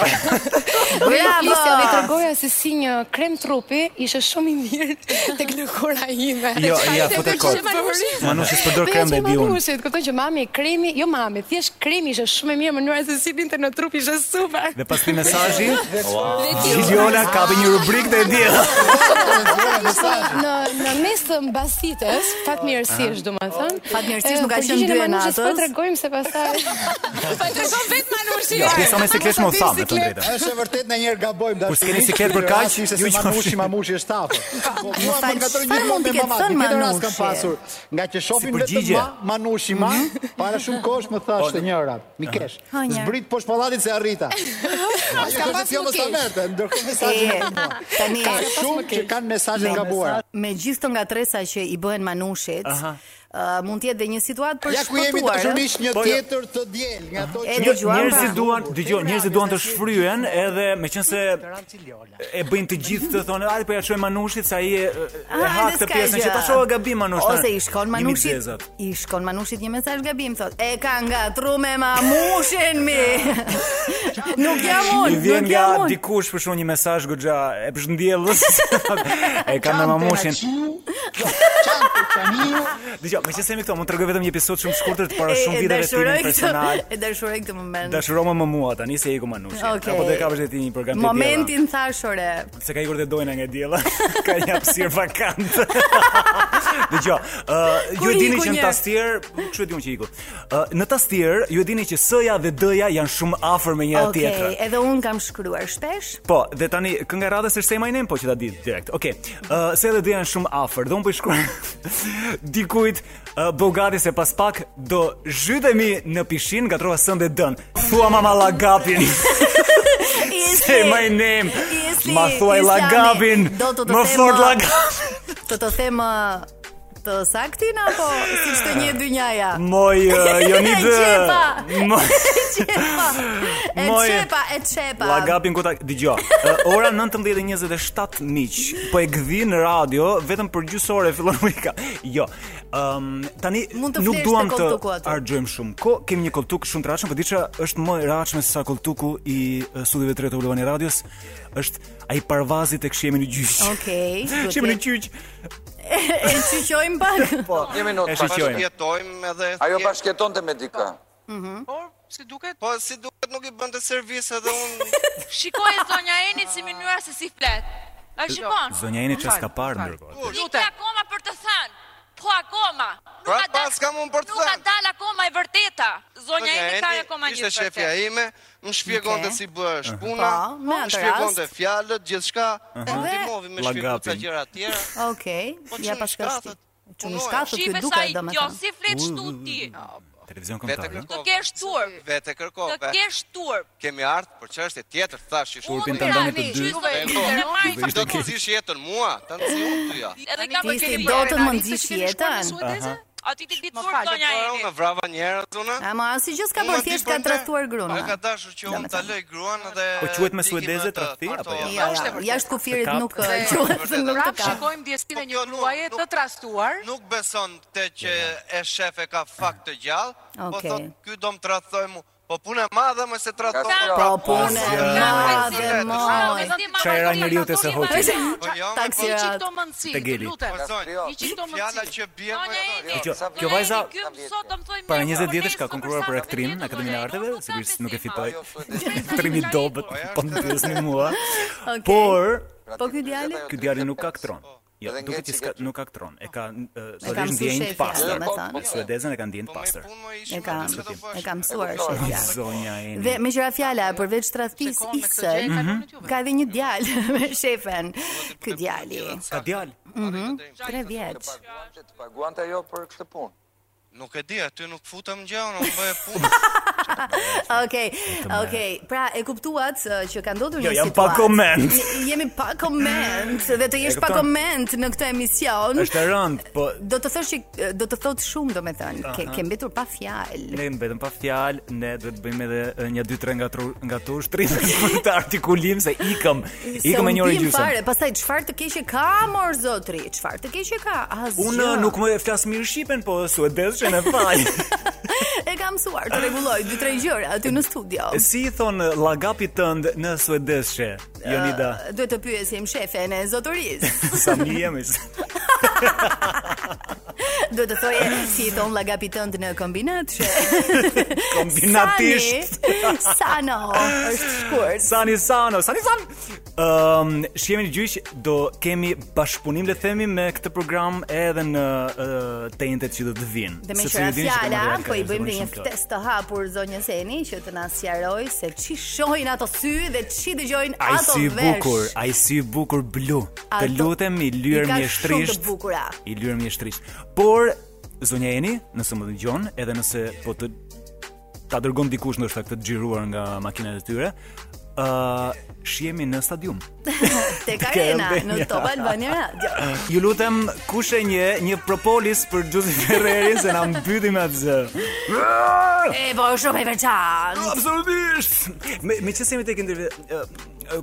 Dhe ja
Bravo!
flisja dhe i tregoja se si një krem trupi ishte shumë i mirë tek lëkura ime.
Jo, ja,
Dhe
fute
kjo
kot.
që manushit.
Manushit përdor
Dhe
krem
ja që
baby unë.
Manushit, kupton që mami kremi, jo mami, thjesht kremi ishte shumë e mirë, mënyra se si linte në trup ishte super.
po, Dhe pas këtij mesazhi,
Wow.
Gigiola ka bërë një rubrik të e diellë.
që
po.
në në mes të mbasitës, fatmirësisht, domethënë,
Fatmirësisht nuk ka qenë dy e
Po
natës.
tregojmë se pastaj.
Po tregon vetë Manushi.
Jo, pjesa me siklesh më u tha, me të drejtën.
Është e vërtet në njerë gabojmë
Kur s'keni siklet për kaq,
ishte
ju
se
që-
mamushi, mamushi është tapë.
më
Mua
falë,
më katër
çfarë
një
mund
mund
t'i ketë
mamat,
thënë
një tjetër rast
Manushi?
kam pasur. Nga që shohim vetëm
përgjigje.
ma, manushi ma, para shumë kohësh më thashë të njëra, Nikesh.
Mhm. Ha, njëra.
Zbrit poshtë pallatit se arrita. Ajo
S'ka
ka
pas
pas
më
më sa
keq.
merrte, jo ndërkohë mesazhin
E,
e mua.
tani-
ka
S'ka pas më
shumë që
keq.
kanë mesazhe
Me-
gabuara.
Me gjithë të ngatresa që i bëhen Manushit,
Aha.
ë, mund të jetë dhe një situatë për
Ja ku jemi
shpëtuar, ë?
dashurisht një tjetër të diel nga ato
E pra.
që
Njer- Njerëzit duan, dëgjoj, njerëzit duan të shfryen edhe meqense e bëjnë të gjithë të thonë, "Hajde po ja çojmë Manushit se ai e, e
Ah,
ha
edhe
këtë
s'ka
pjesën që
gjë.
ta shohë gabim Manush."
Ose
tani."
i shkon
Jemi
Manushit,
zezat.
i shkon Manushit një mesazh gabim thot. E ka ngatru me mamushin mi. nuk jam
I
unë,
vjen
nuk jam
nga
unë.
dikush për shkak një mesazh goxha e përshëndjellës. e kam me mamushin. Dgjoj, me qenë se jemi këto, mund të rregoj vetëm një episod shumë shkurtër të para
E-
shumë
e
viteve të
dashuroj
timin
këtë-
personal.
E dashuroj këtë moment.
Dashuroma më mua tani se iku Manushi.
Okej.
Apo do e kapësh dhe ti një program të tjera.
Momentin thashore.
Se ka ikur të dojna nga djela Ka një hapësirë vakantë Dhe gjo uh, Ju
Kur
e dini
iku
që në
njerë?
tastier Që e dini që iku uh, Në tastier Ju e dini që s-ja dhe d-ja janë shumë afer me njëra
Okej,
tjetrën
edhe un kam shkruar shpesh.
Po, dhe tani kënga e radhës është Say My Name, po që ta di direkt. Okej. Ë, se edhe dhe janë shumë afër. Dhe unë po i shkruaj dikujt uh, Bogati se pas pak do zhytemi në pishin, gatrova sënde dën. Thua mama lagapin. Say my name.
Isli,
Ma thuaj
Islami,
lagapin.
do të të
Më
them,
fort
uh,
lagapin.
Të të them ë, të saktin apo siç të një dynjaja?
Moj uh, Jonid.
E qepa.
Moj
Qepa. E
Moj-
çepa, e çepa.
Lagapin ku ta dëgjoj. Ë, Ora 19:27 miq. Po e gdhi në radio vetëm për gjysore fillon muzika. Jo. Ëm tani
Mund të
nuk
flesh
duam
te
të
koltuku aty.
argjojmë shumë. Ko kemi një koltuk shumë të ratshëm, por diçka është më e ratshme se sa koltuku i ë, studiove të rrethulluan e radios është ai parvazi tek shihemi në gjyq.
Okej. duhet
Shihemi në
jetë.
gjyq.
E qyqojmë pak. Po.
Një minutë,
E
pak
shqyqojmë.
shpjetojmë edhe... Ajo bashkjeton të me dika.
Por, si duket?
Po, si duket nuk i bënte servis edhe unë...
Shikoj e zonja Enit si mënyra se si flet. A shikon?
Zonja Eni çes ka parë ndërkohë.
Lutë akoma për të thënë. Po akoma. Nuk
Pra,
ka dal-
pas kam unë për të
Nuk ka
thënë.
dal akoma e vërteta. Zonja Enit ka akoma një
ishte
të
shefja
vërtetë.
ime, më shpjegonte
Oke.
si bëhesh
Mhm.
puna,
Po, me
më
atë
shpjegonte
rast.
fjalët, gjithçka,
Mhm.
më
Edhe-
ndihmovi me shpjegon ca
Lagapin.
gjëra të tjera.
Okej.
Po,
Ja
çuni
pas ka
shkatët,
Çuni
punojnë.
shkatët ky
Shife sa
duket
i kjo,
domethënë.
si flet
U,
shtu ti.
Televizion
Vete
kombëtar.
kërkove.
Kesh turp.
po, Vete
Të
kërkove.
kesh turp.
Kemi ardhur për çështje tjetër, thash që
Turpin të ndonit të dy.
Do të nxish jetën mua, ta nxi unë ty ja.
Edhe kam
Ti si
përgjigje.
do të më nxish jetën?
Aha.
A Po ti ti ditur zonja
po,
Enit.
Unë vrava një herë zonë.
Ama asgjë s'ka
Unë
bërë,
aty
thjesht ka
bënte-
trahtuar gruan.
Ajo ka dashur që unë ta lëj gruan dhe
Po quhet me
ikim
suedeze
atë jo?
tradhti, apo jo?
kvartolla.
Ja, ja, jashtë kufirit nuk eh, quhet se nuk të
Prap
ka.
shikojmë
djesinë
e një gruaje të trastuar. Nuk beson te që e shefe ka fakt të gjallë, po
Okej.
thotë ky do më tradhtoj mu. Po punë e madhe më se tradhtoj.
Po punë e
Asgjë.
madhe moj.
Çajra njeriu te se hoqi.
Taksi rat.
Këto mundësi,
Te geli.
lutem. Hiqi këto mundësi.
që bie më
Kjo, kjo vajza
Ky mësot do më thoj
Para 20 vjetësh ka konkuruar për aktrim në Akademinë e Arteve, sigurisht nuk e fitoi. Aktrimi i dobët, po më pyesni mua.
Okej.
Por
Po ky djali?
ky djali nuk aktron. Jo, duket që s'ka- nuk aktron. E ka
ka
sigurisht
mësu
ndjenjë të
shefja,
pastër.
me thënë.
Suedezën e ka ndjenjë të pastër.
E ka e ka mësuar shefja.
Zonja e
Dhe me qira fjala përveç tradhtis isën, ka edhe një djalë me shefen. Ky djali.
Ka djalë.
Mhm. 3 vjeç.
Të paguante ajo për këtë punë. Nuk e di, aty nuk futem gjë, unë unë bëj punë.
Okej, okej. Pra e kuptuat ë, që ka ndodhur
Jo,
një
jam
situatë.
pa koment.
J- Jemi pa koment dhe të jesh
E
pa
kupton.
koment në këtë emision.
Është e rënd, po
Do të thosh që ë, do të thot shumë domethënë, ke
Aha.
ke mbetur pa fjalë.
Ne vetëm pa fjalë, ne duhet bëjmë edhe e, një dy tre nga tru, nga tur shtrim për të artikulim se ikëm. Ikëm me
Se
një orë
u bim
gjysmë.
Fare, pastaj çfarë të keqe ka mor zotri? Çfarë të keqe ka? Asgjë.
Unë nuk më e flas mirë shqipen, po suedezën e faj.
e kam mësuar të rregulloj dy tre gjëra aty në studio.
si i thon e, llagapit tënd në suedezshe, Jonida?
Ë, Duhet të pyesim shefen e zotërisë.
Sa mi jemi?
Duhet të thoje si i thon llagapi tënd në kombinat she.
Kombinatisht.
Sani, Sano është shkurt.
Sani Sano, Sani San. Ëm, shihemi në gjyq, do kemi bashkëpunim le të themi me këtë program edhe në uh, tentet që do të vinë.
Dhe me
Sepse
qëra
ju dini që ka
fjala,
material
po i
ka
bëjmë dhe një
zakonisht shumë plot.
ftes të hapur zonjë Seni që të na sqaroj se ç'i shohin ato sy dhe ç'i dëgjojnë
Ai
ato
si i
vesh.
bukur, ai si i bukur blu. Të
Ato-
lutem i lyr
I ka
mjeshtrisht.
Shumë të bukura.
I lyr mjeshtrisht. Por zonja Eni, nëse më dëgjon, edhe nëse po të ta dërgon dikush ndoshta këtë të xhiruar nga makinat e tyre, ë shihemi në stadium.
Tek
Tek
arena
Albania.
në Top Albania Radio.
Ju lutem kush e një një propolis për Gjuzif Ferrerin se na mbyti me atë zë.
E po shumë e veçantë.
Absolutisht. Me me çfarë semi tek intervista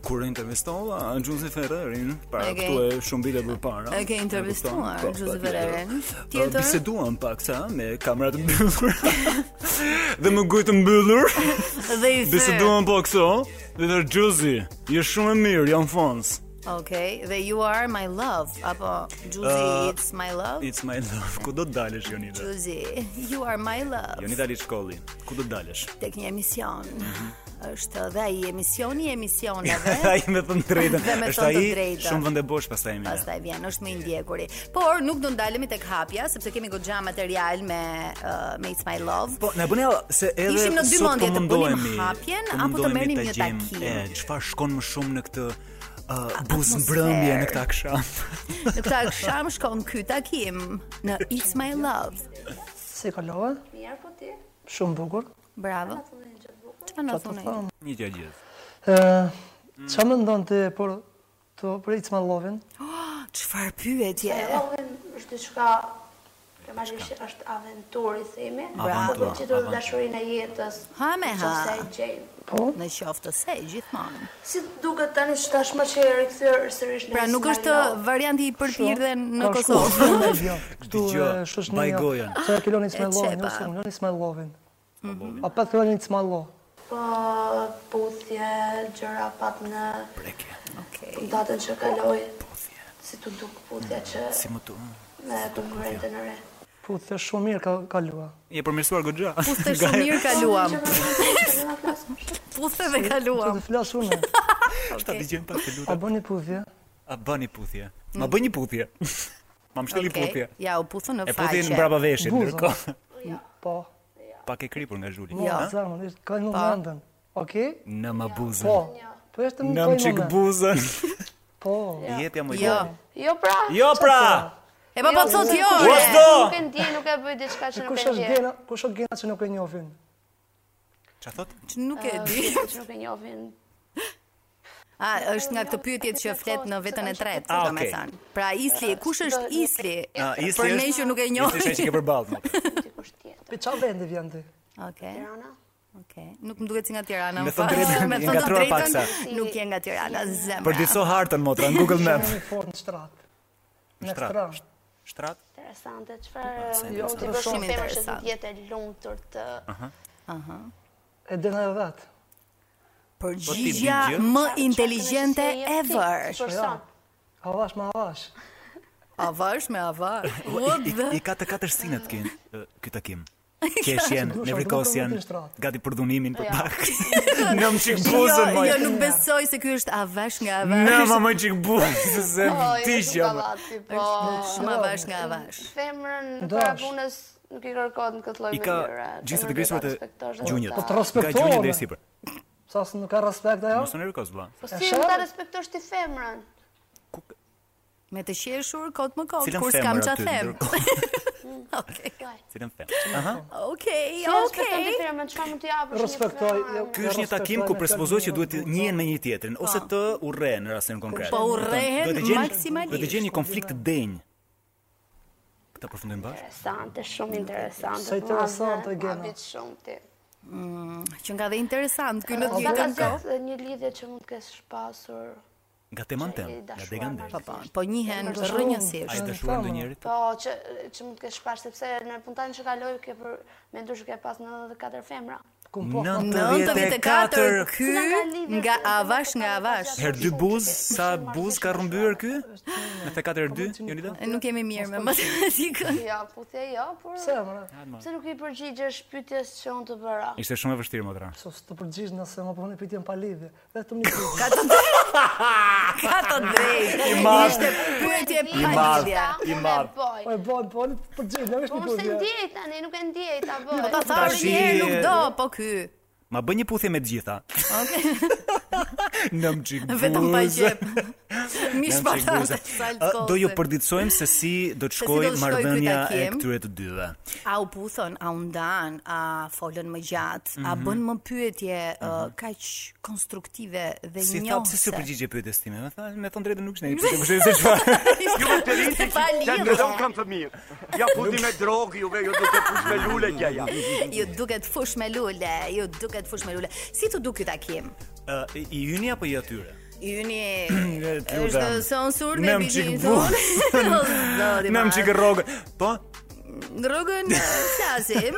kur e intervistova Gjuzif Ferrerin para
Ok.
këtu e shumë vite më para.
E ke intervistuar
e kupton? Po,
Gjuzif
patjetër.
Ferrerin.
Ë,
Tjetër?
Biseduam pak sa me kamera të mbyllur. dhe me gojë të mbyllur.
Dhe i the.
Biseduam po këso. Dhe thër Gjuzi, je shumë e mirë, jam fans.
Okej, dhe you are my love apo Juzi
Ë,
it's my love.
It's my love. Ku do të dalësh Jonida?
Juzi, you are my love.
Jonida li shkolli. Ku do të dalësh?
Tek një emision. Është dhe ai emisioni i emisioneve.
Ai me të drejtën.
Eh? Dhe me
Është
thënë të
ai
drejtën.
shumë vende bosh pastaj më.
Pastaj vjen, është më i ndjekuri. Por nuk do ndalemi tek hapja sepse kemi goxha material me uh, me It's My Love.
Po, na bëni hall- se edhe
Ishim në dy
sot po
mendje, të bënim
mundohemi,
hapjen,
po
apo të
mundohemi
merrnim
ta
një
gjejmë,
takim?
E, çfarë shkon më shumë në këtë uh, buzë
atmosferë.
mbrëmje në këtë akşam?
Në këtë akşam shkon ky takim në It's My Love. Si kolove?
Mirë po ti.
Shumë bukur. Bravo. Çfarë na
Çfarë të
thonë?
them?
Një gjë gjithë.
Qa më ndonë ti për, të, për It's My Lovin?
Çfarë pyetje?
Rogen është diçka normalisht është aventurë i themi,
Bravo.
apo që do
Aventurë.
dashurinë e jetës.
Pra, Ha me ha.
Nëse e gjejmë.
Po. Në qoftë të se gjithmonë.
Si duket tani që tashmë që e rikthyer sërish në
Pra nuk
Ismail
është
Love?
varianti i përpirë në
Ka
Kosovë.
shkuar në Belgjë, Këtu
Dëgjoj,
eh,
e
jo.
shoshnia.
baj gojen.
Se e kilon It's My
E
Lovin,
qepa.
jo se kilon It's My Lovin. A pat kilon It's My Love.
Po puthje, gjëra pat në Preke. Okej. Datën që kaloi. Puthje. Si të duk puthja që
Si më tu.
me konkurrentën e re.
Po, të shumë mirë ka kalua.
Je përmirësuar goxha.
Puthje
Nga-
shumë mirë kaluam.
Puthje dhe kaluam.
Të flas unë.
Shta dëgjojmë pak të
A
lutem.
bëni puthje?
A bëni puthje.
Mm.
Ma bëj një puthje. Ma mshteli
Okej,
puthje.
Ja, u puthën në
E
faqe.
puthin mbrapa veshit
Buzën.
ndërkohë.
Po.
Pak e kripur nga Zhuli.
Jo,
ha?
zakonisht ka një momentën. Okej?
Në më buzën.
Po. Po është më
Në
ka
më
një
çik
moment.
buzën.
Po.
Jepja më
Jo.
gojen.
Jo pra.
Jo pra.
E pa po thot jo.
Ua, s'do!
Nuk e ndjej, nuk e bëj diçka që nuk
Kush
e
është
ndjej.
gena? Kush është gena që nuk e njohin?
Çfarë thot?
Nuk e
Ë,
di.
diçka Që nuk e njohin.
A, është nga këtë pyetjet që flet në vetën e tretë,
Ah,
do me
okej.
thënë. Pra Isli, kush është Isli?
Ah, Isli
Për ne
është-
që nuk e
Isli është ai që
njohim.
ke përballë. mo.
Pe çfarë vendi vjen ti?
Okej. Okej. Nuk më duket si nga Tirana.
Me
më
thënë
fal.
drejtën,
me
i
thënë të
ngatruar pak
drejtën,
sa.
nuk je nga Tirana, zemra.
Përdiqso hartën motra në Google Map.
Në formë të shtrat. Në
Shtrat.
shtrat.
Shtrat.
Interesante, çfarë
sa
jo,
interesante.
ti bësh
Shumë
një femër që të
interesante. Ah.
jetë e lumtur të
Aha.
E dëna e vet.
Po
Përgjigja më inteligjente ever.
ah. Avash me avash.
Avash me avash.
Po,
What
I, i,
the?
i ka të katërsinë të kin ë, ky takim.
ka-
Qesh janë,
Dusham,
nevrikos
duhet të
janë,
vëtin shtrat.
gati për dhunimin për
Ja.
pak. Në më qik
Jo,
buzën, moj.
jo, nuk besoj se ky është avash nga avash.
Në më më qik buzën, se
jo. Oj,
ti
është
që
shumë gallati, po.
Është shumë avash nga avash.
Femrën
Dash.
para punës nuk i kërkohet në këtë lloj
I ka
mënyre.
gjithë
Femrën
të grisur
duhet ta
të
respektosh dhe
gjunjët.
Po
ta-
Ka gjunjët dhe i sipër.
Sa se nuk ka respekt ajo?
Mos në nervikoz, vlla.
Po
E
si
shërë?
nuk ta respektosh ti femrën?
Me të qeshur kot më kot,
Cilën
kur
femër
s'kam
aty,
ç'a them.
Cilën fem.
Okej,
Si respekton ti
okej.
femrën, çfarë mund t'i japësh? një
Respektoj. jo,
Ky është një takim ku presupozoj që duhet të njihen me një tjetrin ose të urrehen në rastin konkret.
Po urrehen
Do të gjenë-
maksimalisht.
Do të gjeni një konflikt të denjë. Këta përfundojmë bashkë.
Interesante, shumë interesante.
Sa interesante,
madhe,
Gena.
madhe shumë ti.
Mm, që nga dhe interesant ky në të
Sa ka
njëjtën kohë.
zëtë një lidhje që mund të kesh pasur?
Nga teman tem,
i
nga
dashuar
degan del.
Po, po njihen
Ndryshuar.
rrënjësisht.
Ai dëshuar ndonjërit?
Po, që që mund të kesh pash sepse në puntatin që kaloi ke për mendoj që ke pas 94 femra.
po.
94 ky nga Avash nga Avash.
Her dy buz, sa buz ka rrëmbyer ky? Me 4 her 2, Jonida?
E, Nuk jemi mirë me matematikën.
Jo, puthje jo, por...
Pse, mëra?
Pse nuk i përgjigjesh pyetjes që unë të bëra?
Ishte shumë e vështirë motra.
Sos të përgjigj nëse më punë pyetjen pa lidhje. Vetëm një pyetje.
Ka të drejtë.
I madh.
Ishte pyetje
I
pa
madh.
lidhje.
I madh.
Po,
Po e bën, po unë përgjigj, ne vesh
po
një
unë se
pyetje.
ndjej tani, nuk e ndjej ta
Jo,
bëj.
Po ta
Tash
thash një herë
i-
nuk do, po ky.
Ma bën një puthje me të gjitha.
Okej.
Nëm çik buz.
Vetëm pa gjep. Mish
nëm
pa
çik
thash.
buza. Ë, Do ju përditësojmë se si do të
Se si do
shkojë
të shkojë
marrëdhënia e
kryetakim.
këtyre të dyve.
A u puthën, a u ndan, a folën më gjatë, a
Mhm.
bën më pyetje uh, kaq konstruktive dhe
Si
njohëse.
tha pse s'u përgjigje pyetjes time? Me tha, me thon drejtën nuk është ne. Po kush e di se çfarë.
Ju më të rritë pa
Ja
lidhje.
po.
ndërton kam të mirë. Ja futi me drogë juve, ju do të fush me lule gja ja.
Ju duket fush me lule, ju duket fush me lule. Si të duket takim?
Ë, i- i hyni apo i atyre?
Juni
t'lutem.
është sensur me
Nëm çik
bizhin
buz.
tonë. O, zoti
Nëm
madh.
çik rrogë. Po,
Rrogën e, flasim,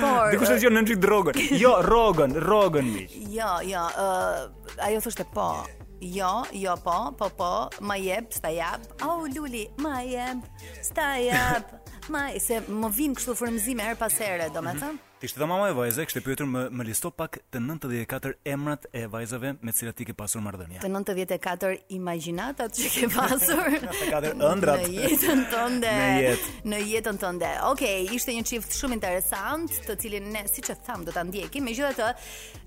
por...
dikush e dëgjon nën çik drogën. Jo, rrogën, rrogën miq.
Jo, jo, uh, ajo thoshte po. Jo, jo po, po po, ma jep, s'ta jap. Au, Luli, ma jep, s'ta jap. Ma, se më vinë kështu frëmzime her pas here, do me thëmë.
Ti ishte dhe mama e vajze, kështë e pyetur më, më listo pak të 94 emrat e vajzave me cilat ti ke pasur marrëdhënie.
Të 94 imaginatat që ke pasur
94 ëndrat.
Në jetën tënde
Në jetë.
Në jetën tënde Okej, ishte një qift shumë interesant Të cilin ne, si që thamë, do të ndjekim Me gjitha të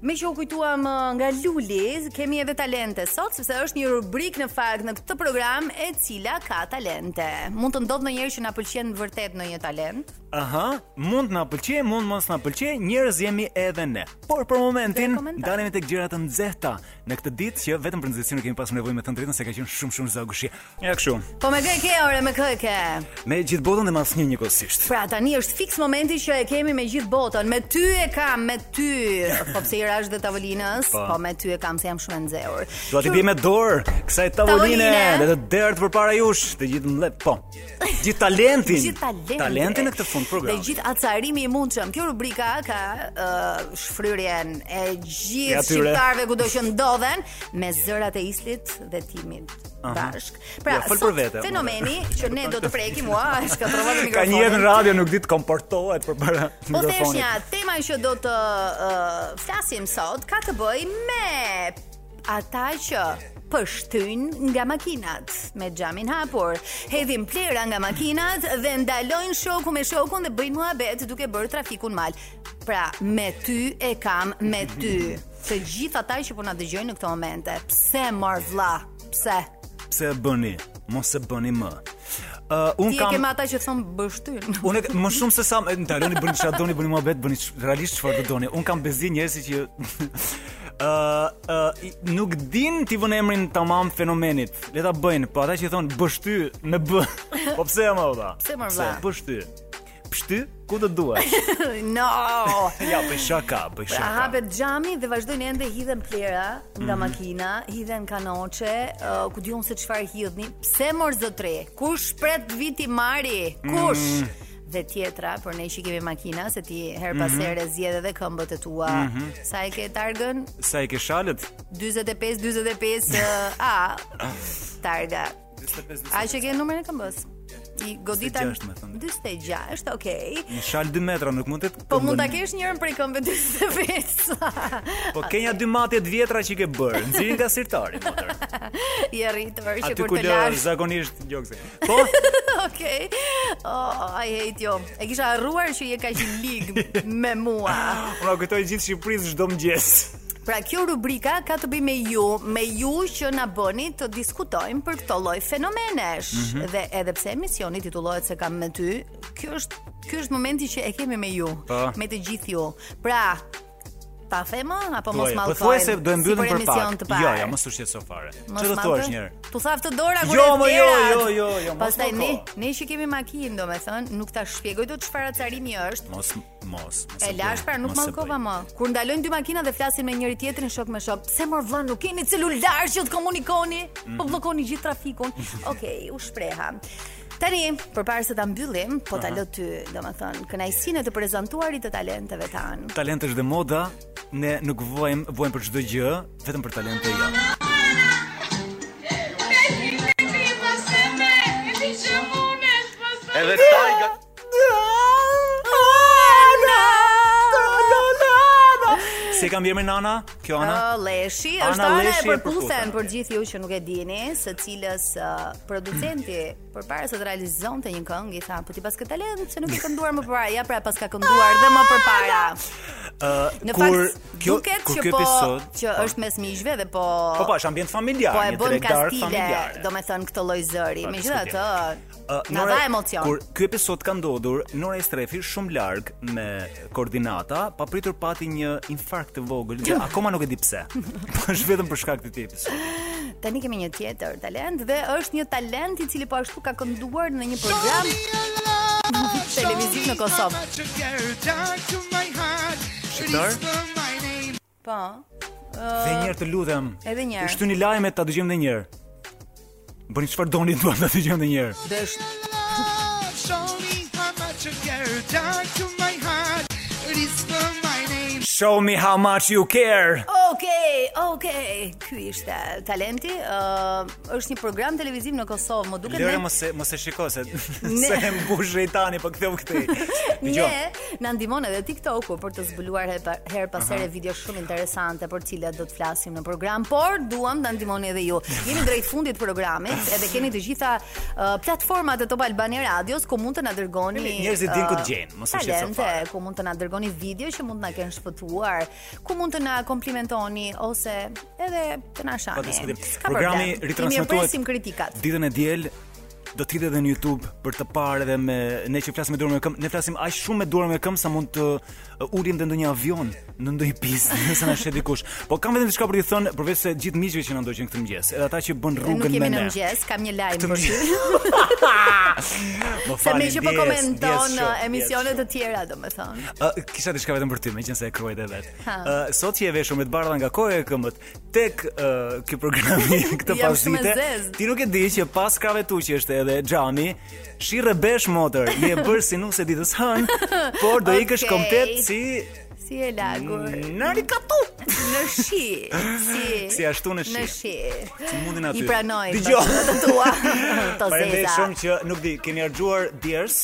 Me që u kujtuam ë, nga Luli Kemi edhe talente sot Sepse është një rubrik në fakt në këtë program E cila ka talente Mund të ndodhë në njerë që na pëlqen vërtet në një talent
Aha, mund na pëlqej, mund mos na pëlqej, njerëz jemi edhe ne. Por për momentin
komentar.
ndalemi tek gjërat të nxehta në këtë ditë që vetëm për nxehtësinë kemi pasur nevojë me të drejtën se ka qenë shumë shumë zagushi. Ja kështu.
Po me kë e ke, ore, me kë e ke
Me gjithë botën dhe mas një njëkohësisht.
Pra tani është fiks momenti që e kemi me gjithë botën. Me ty e kam, me ty. Po pse i rash dhe tavolinës?
Po.
Po. me ty e kam se jam shumë e nxehur.
Dua t'i bje me dorë kësaj tavoline
Tavoline.
dhe të dert përpara jush, të gjithë mle, po. Gjithë talentin.
Gjithë talentin.
Talentin në këtë fund
Dhe
programi.
gjithë acarimi i mundshëm. Kjo rubrika ka uh, shfryrjen e
E
gjithë
atyre.
shqiptarëve kudo që ndodhen me zërat e Islit dhe Timit
Aha.
bashk. Pra,
Ja, fol për
sot
vete, mora.
fenomeni që ne do të prekim, ua, e shkatërrova të mikrofonin.
Ka një jetë në radio nuk ditë komportohet përpara
Po thesh një
mikrofonit.
tema që do të ë, flasim sot ka të bëj me ata që pështyjnë nga makinat me xhamin hapur, hedhin plera nga makinat dhe ndalojnë shoku me shokun dhe bëjnë muhabet duke bërë trafikun mal. Pra, me ty e kam me ty. Të gjithë ata që po na dëgjojnë në këto momente. Pse mor vlla? Pse?
Pse e bëni? Mos e bëni më. Uh, un
Ti e
kam
ke me ata që thon bështyn.
Po Unë e- më shumë se sa e, ndaloni bëni çfarë doni, bëni muhabet, bëni ç- realisht çfarë do doni. Un kam bezi njerëz që ë ë i- nuk din ti vënë emrin tamam fenomenit. Le ta bëjnë, po ata që thonë bësh ty me b. Po pse më valla?
Pse, mor, vlla?
Bësh ty. Pshty ku do duash.
no.
ja, bëj shaka, bëj
Pra
shaka.
hapet xhami dhe vazhdojnë ende hidhen plera
Mhm.
nga makina, hidhen kanoçe, uh, ku diun se çfarë hidhni. Pse mor zotre? Kush pret viti mari? Kush?
Mm.
Dhe tjetra, për ne që kemi makina, se ti her pas
Mhm.
here zgjedh edhe këmbët e tua.
Mhm.
Sa e ke targën?
Sa i ke shalët?
45 45 uh, a targa. A që ke numrin e këmbës? I godita
46, me thënë.
46, okay.
Një shalë 2 metra nuk mund të
Po mund ta
këmbën.
kesh njërin prej këmbëve 45.
Po ke një dy matje të vjetra që ke bërë. Nxirrin nga sirtari. motër.
I rritur që
Aty
kur
ku
të
lë
lash
zakonisht gjokse. Po,
Okej. Oh, I hate you. E kisha harruar që je kaq i lig me mua.
unë kujtoj gjithë Shqipërisë çdo mëngjes.
Pra kjo rubrika ka të bëj me ju, me ju që na bëni të diskutojmë për këto lloj fenomenesh.
Mhm.
Dhe edhe pse emisioni titullohet se kam me ty, ky është ky është momenti që e kemi me ju,
Po.
me të gjithë ju. Pra, ta themë apo mos
Thuaj,
mallkojmë?
Po thuaj se do e
si
mbyllim për pak.
emision të parë.
Jo, jo, mos u shqetëso fare.
Mos
Ç'do
mallkoj?
thuash një herë?
Tu tha të dora kur
Jo,
e
mo, jo,
vjera.
jo, jo, jo, mos
Pastaj ne,
mallko.
ne që kemi makinë, domethënë, nuk ta shpjegoj dot çfarë acarimi është.
Mos mos. mos
E
bëj,
lash pra nuk
mos e
mallkova
bëj.
më. Kur ndalojnë dy makina dhe flasin me njëri tjetrin shok me shok, pse mor vllën nuk keni celular që të komunikoni? Po
Mhm.
bllokoni gjithë trafikun. Okej, u shpreha. Tani, përpara se ta mbyllim, po ta lë ty, domethënë, kënaqësinë e të prezantuarit të talenteve tan.
Talent është dhe moda, ne nuk vojmë, vojmë për çdo gjë, vetëm për talente jo.
Edhe Tajga
Se kam vjerë me Nana, kjo Ana?
Oh, Leshi,
Ana
është ana e
Leshi e
përputhen
përputhen.
për gjithë ju që nuk e dini, së cilës ë, producenti përpara se të realizonte një këngë i tha, po ti pas ke talent se nuk e kënduar më përpara, ja pra pas ka kënduar dhe më përpara.
Ë,
Në
Ah, kur
fakt duket
kur
që
ky
po
episod,
që është mes miqve dhe po
po pa, është ambient familjar,
po e
një Po,
bën
tregdar
kastile,
familjar.
domethënë këtë lloj zëri.
Pa,
Megjithatë,
Ë,
na dha emocion.
Uh, Kur ky episod ka ndodhur, Nora e strefi shumë larg me koordinata, pa pritur pati një infarkt të vogël, që akoma nuk e di pse. Po është vetëm për shkak të këtij episodi.
Tani kemi një tjetër talent dhe është një talent i cili po ashtu ka kënduar në një program televiziv në Kosovë.
Shqiptar?
Po.
Dhe
Ë,
një herë të lutem.
edhe një herë.
Shtyni lajmet ta dëgjojmë edhe një herë. Bëni çfarë doni duam ta dëgjojmë edhe një herë.
Desh.
Show me how much you care.
Okej, okej. Ky ishte talenti. Ë, është një program televiziv në Kosovë, më duket
Lëre
ne.
mos e mos e shiko se
Ne-
se e mbush rejtani po ktheu këtej. Dgjoj.
Ne na ndihmon edhe TikToku për të zbuluar her pa- her pas here video shumë interesante për të cilat do të flasim në program, por duam ta ndihmoni edhe ju. Jeni drejt fundit të programit, edhe keni të gjitha uh, platformat e Top Albani Radios ku mund të na dërgoni
Jemi- njerëzit din ku të
ë,
gjejnë, mos u shqetëso
talente, ku mund të na dërgoni video që mund të na kenë shpëtuar, ku mund të na komplimentoni ose edhe të na shani.
Pa Po, diskutim.
S'ka
Programi
problem. Ne
ritransmetohet
presim kritikat.
Ditën e diel do të hitet edhe në YouTube për të parë edhe me ne që flasim me dorë me këmbë, ne flasim aq shumë me dorë me këmbë sa mund të uh, ulim dhe ndonjë avion në ndonjë pistë nëse na shet dikush. Po kam vetëm diçka për të thënë përveç se gjithë miqve që na ndoqën këtë mëngjes, edhe ata që bën
Nuk
rrugën
jemi
me
në
ne.
mëngjes, kam një lajm
Këtë
për ty.
Më
Se me
falni,
që po
ndjes, ndjes
komenton uh,
shumë,
emisionet të tjera, domethënë.
Ë, kisha diçka vetëm për ty, meqense e kruaj dhe vet.
Ha.
Ë, sot që e veshur me të bardha nga koja e këmbët, tek ë, ky programi këtë
Jam shumë e
pasdite,
zezë.
ti nuk e di që pas krave tu që është edhe xhami, shirre besh motër, je bërë si nuse ditës hën, por do ikësh
Okej.
komplet si
Si e lagur.
Në rikatu.
Në shi. Si.
Si ashtu në shi.
Në shi.
si mundin aty.
I pranoj.
Dgjoj.
Të tua. To
Faleminderit
zeza.
shumë që nuk di, keni harxuar djers.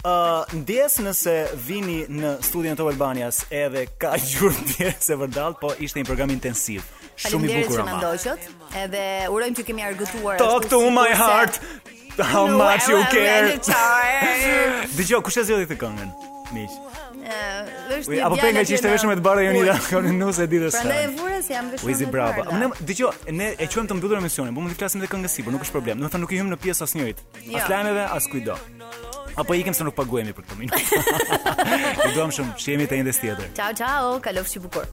Uh, ndjes nëse vini në studion Top Albanias edhe ka gjurë djers e vërdall, po ishte një program intensiv. Shumë i
Faleminderit
bukur
që na
ama.
ndoqët. Edhe urojmë që kemi argëtuar.
Talk to my heart. How much you care. Dgjoj, kush e zgjodhi këtë këngën? Miq. Ui, apo penga që ishte veshur me të bardhë Jonida, kanë nusë e ditës.
Prandaj e
së.
vura se jam veshur.
Wizi
me të
brava.
bardha.
Ne dëgjoj, ne e quajmë të mbyllur emisionin, po mund të flasim edhe këngë sipër, nuk është problem. Do të thonë nuk i hym në pjesë asnjërit.
Jo.
As lajmeve, as kujdo. Apo ikim se nuk paguhemi për këtë minutë. Ju duam shumë, shihemi te një tjetër.
Ciao ciao, kalofshi bukur.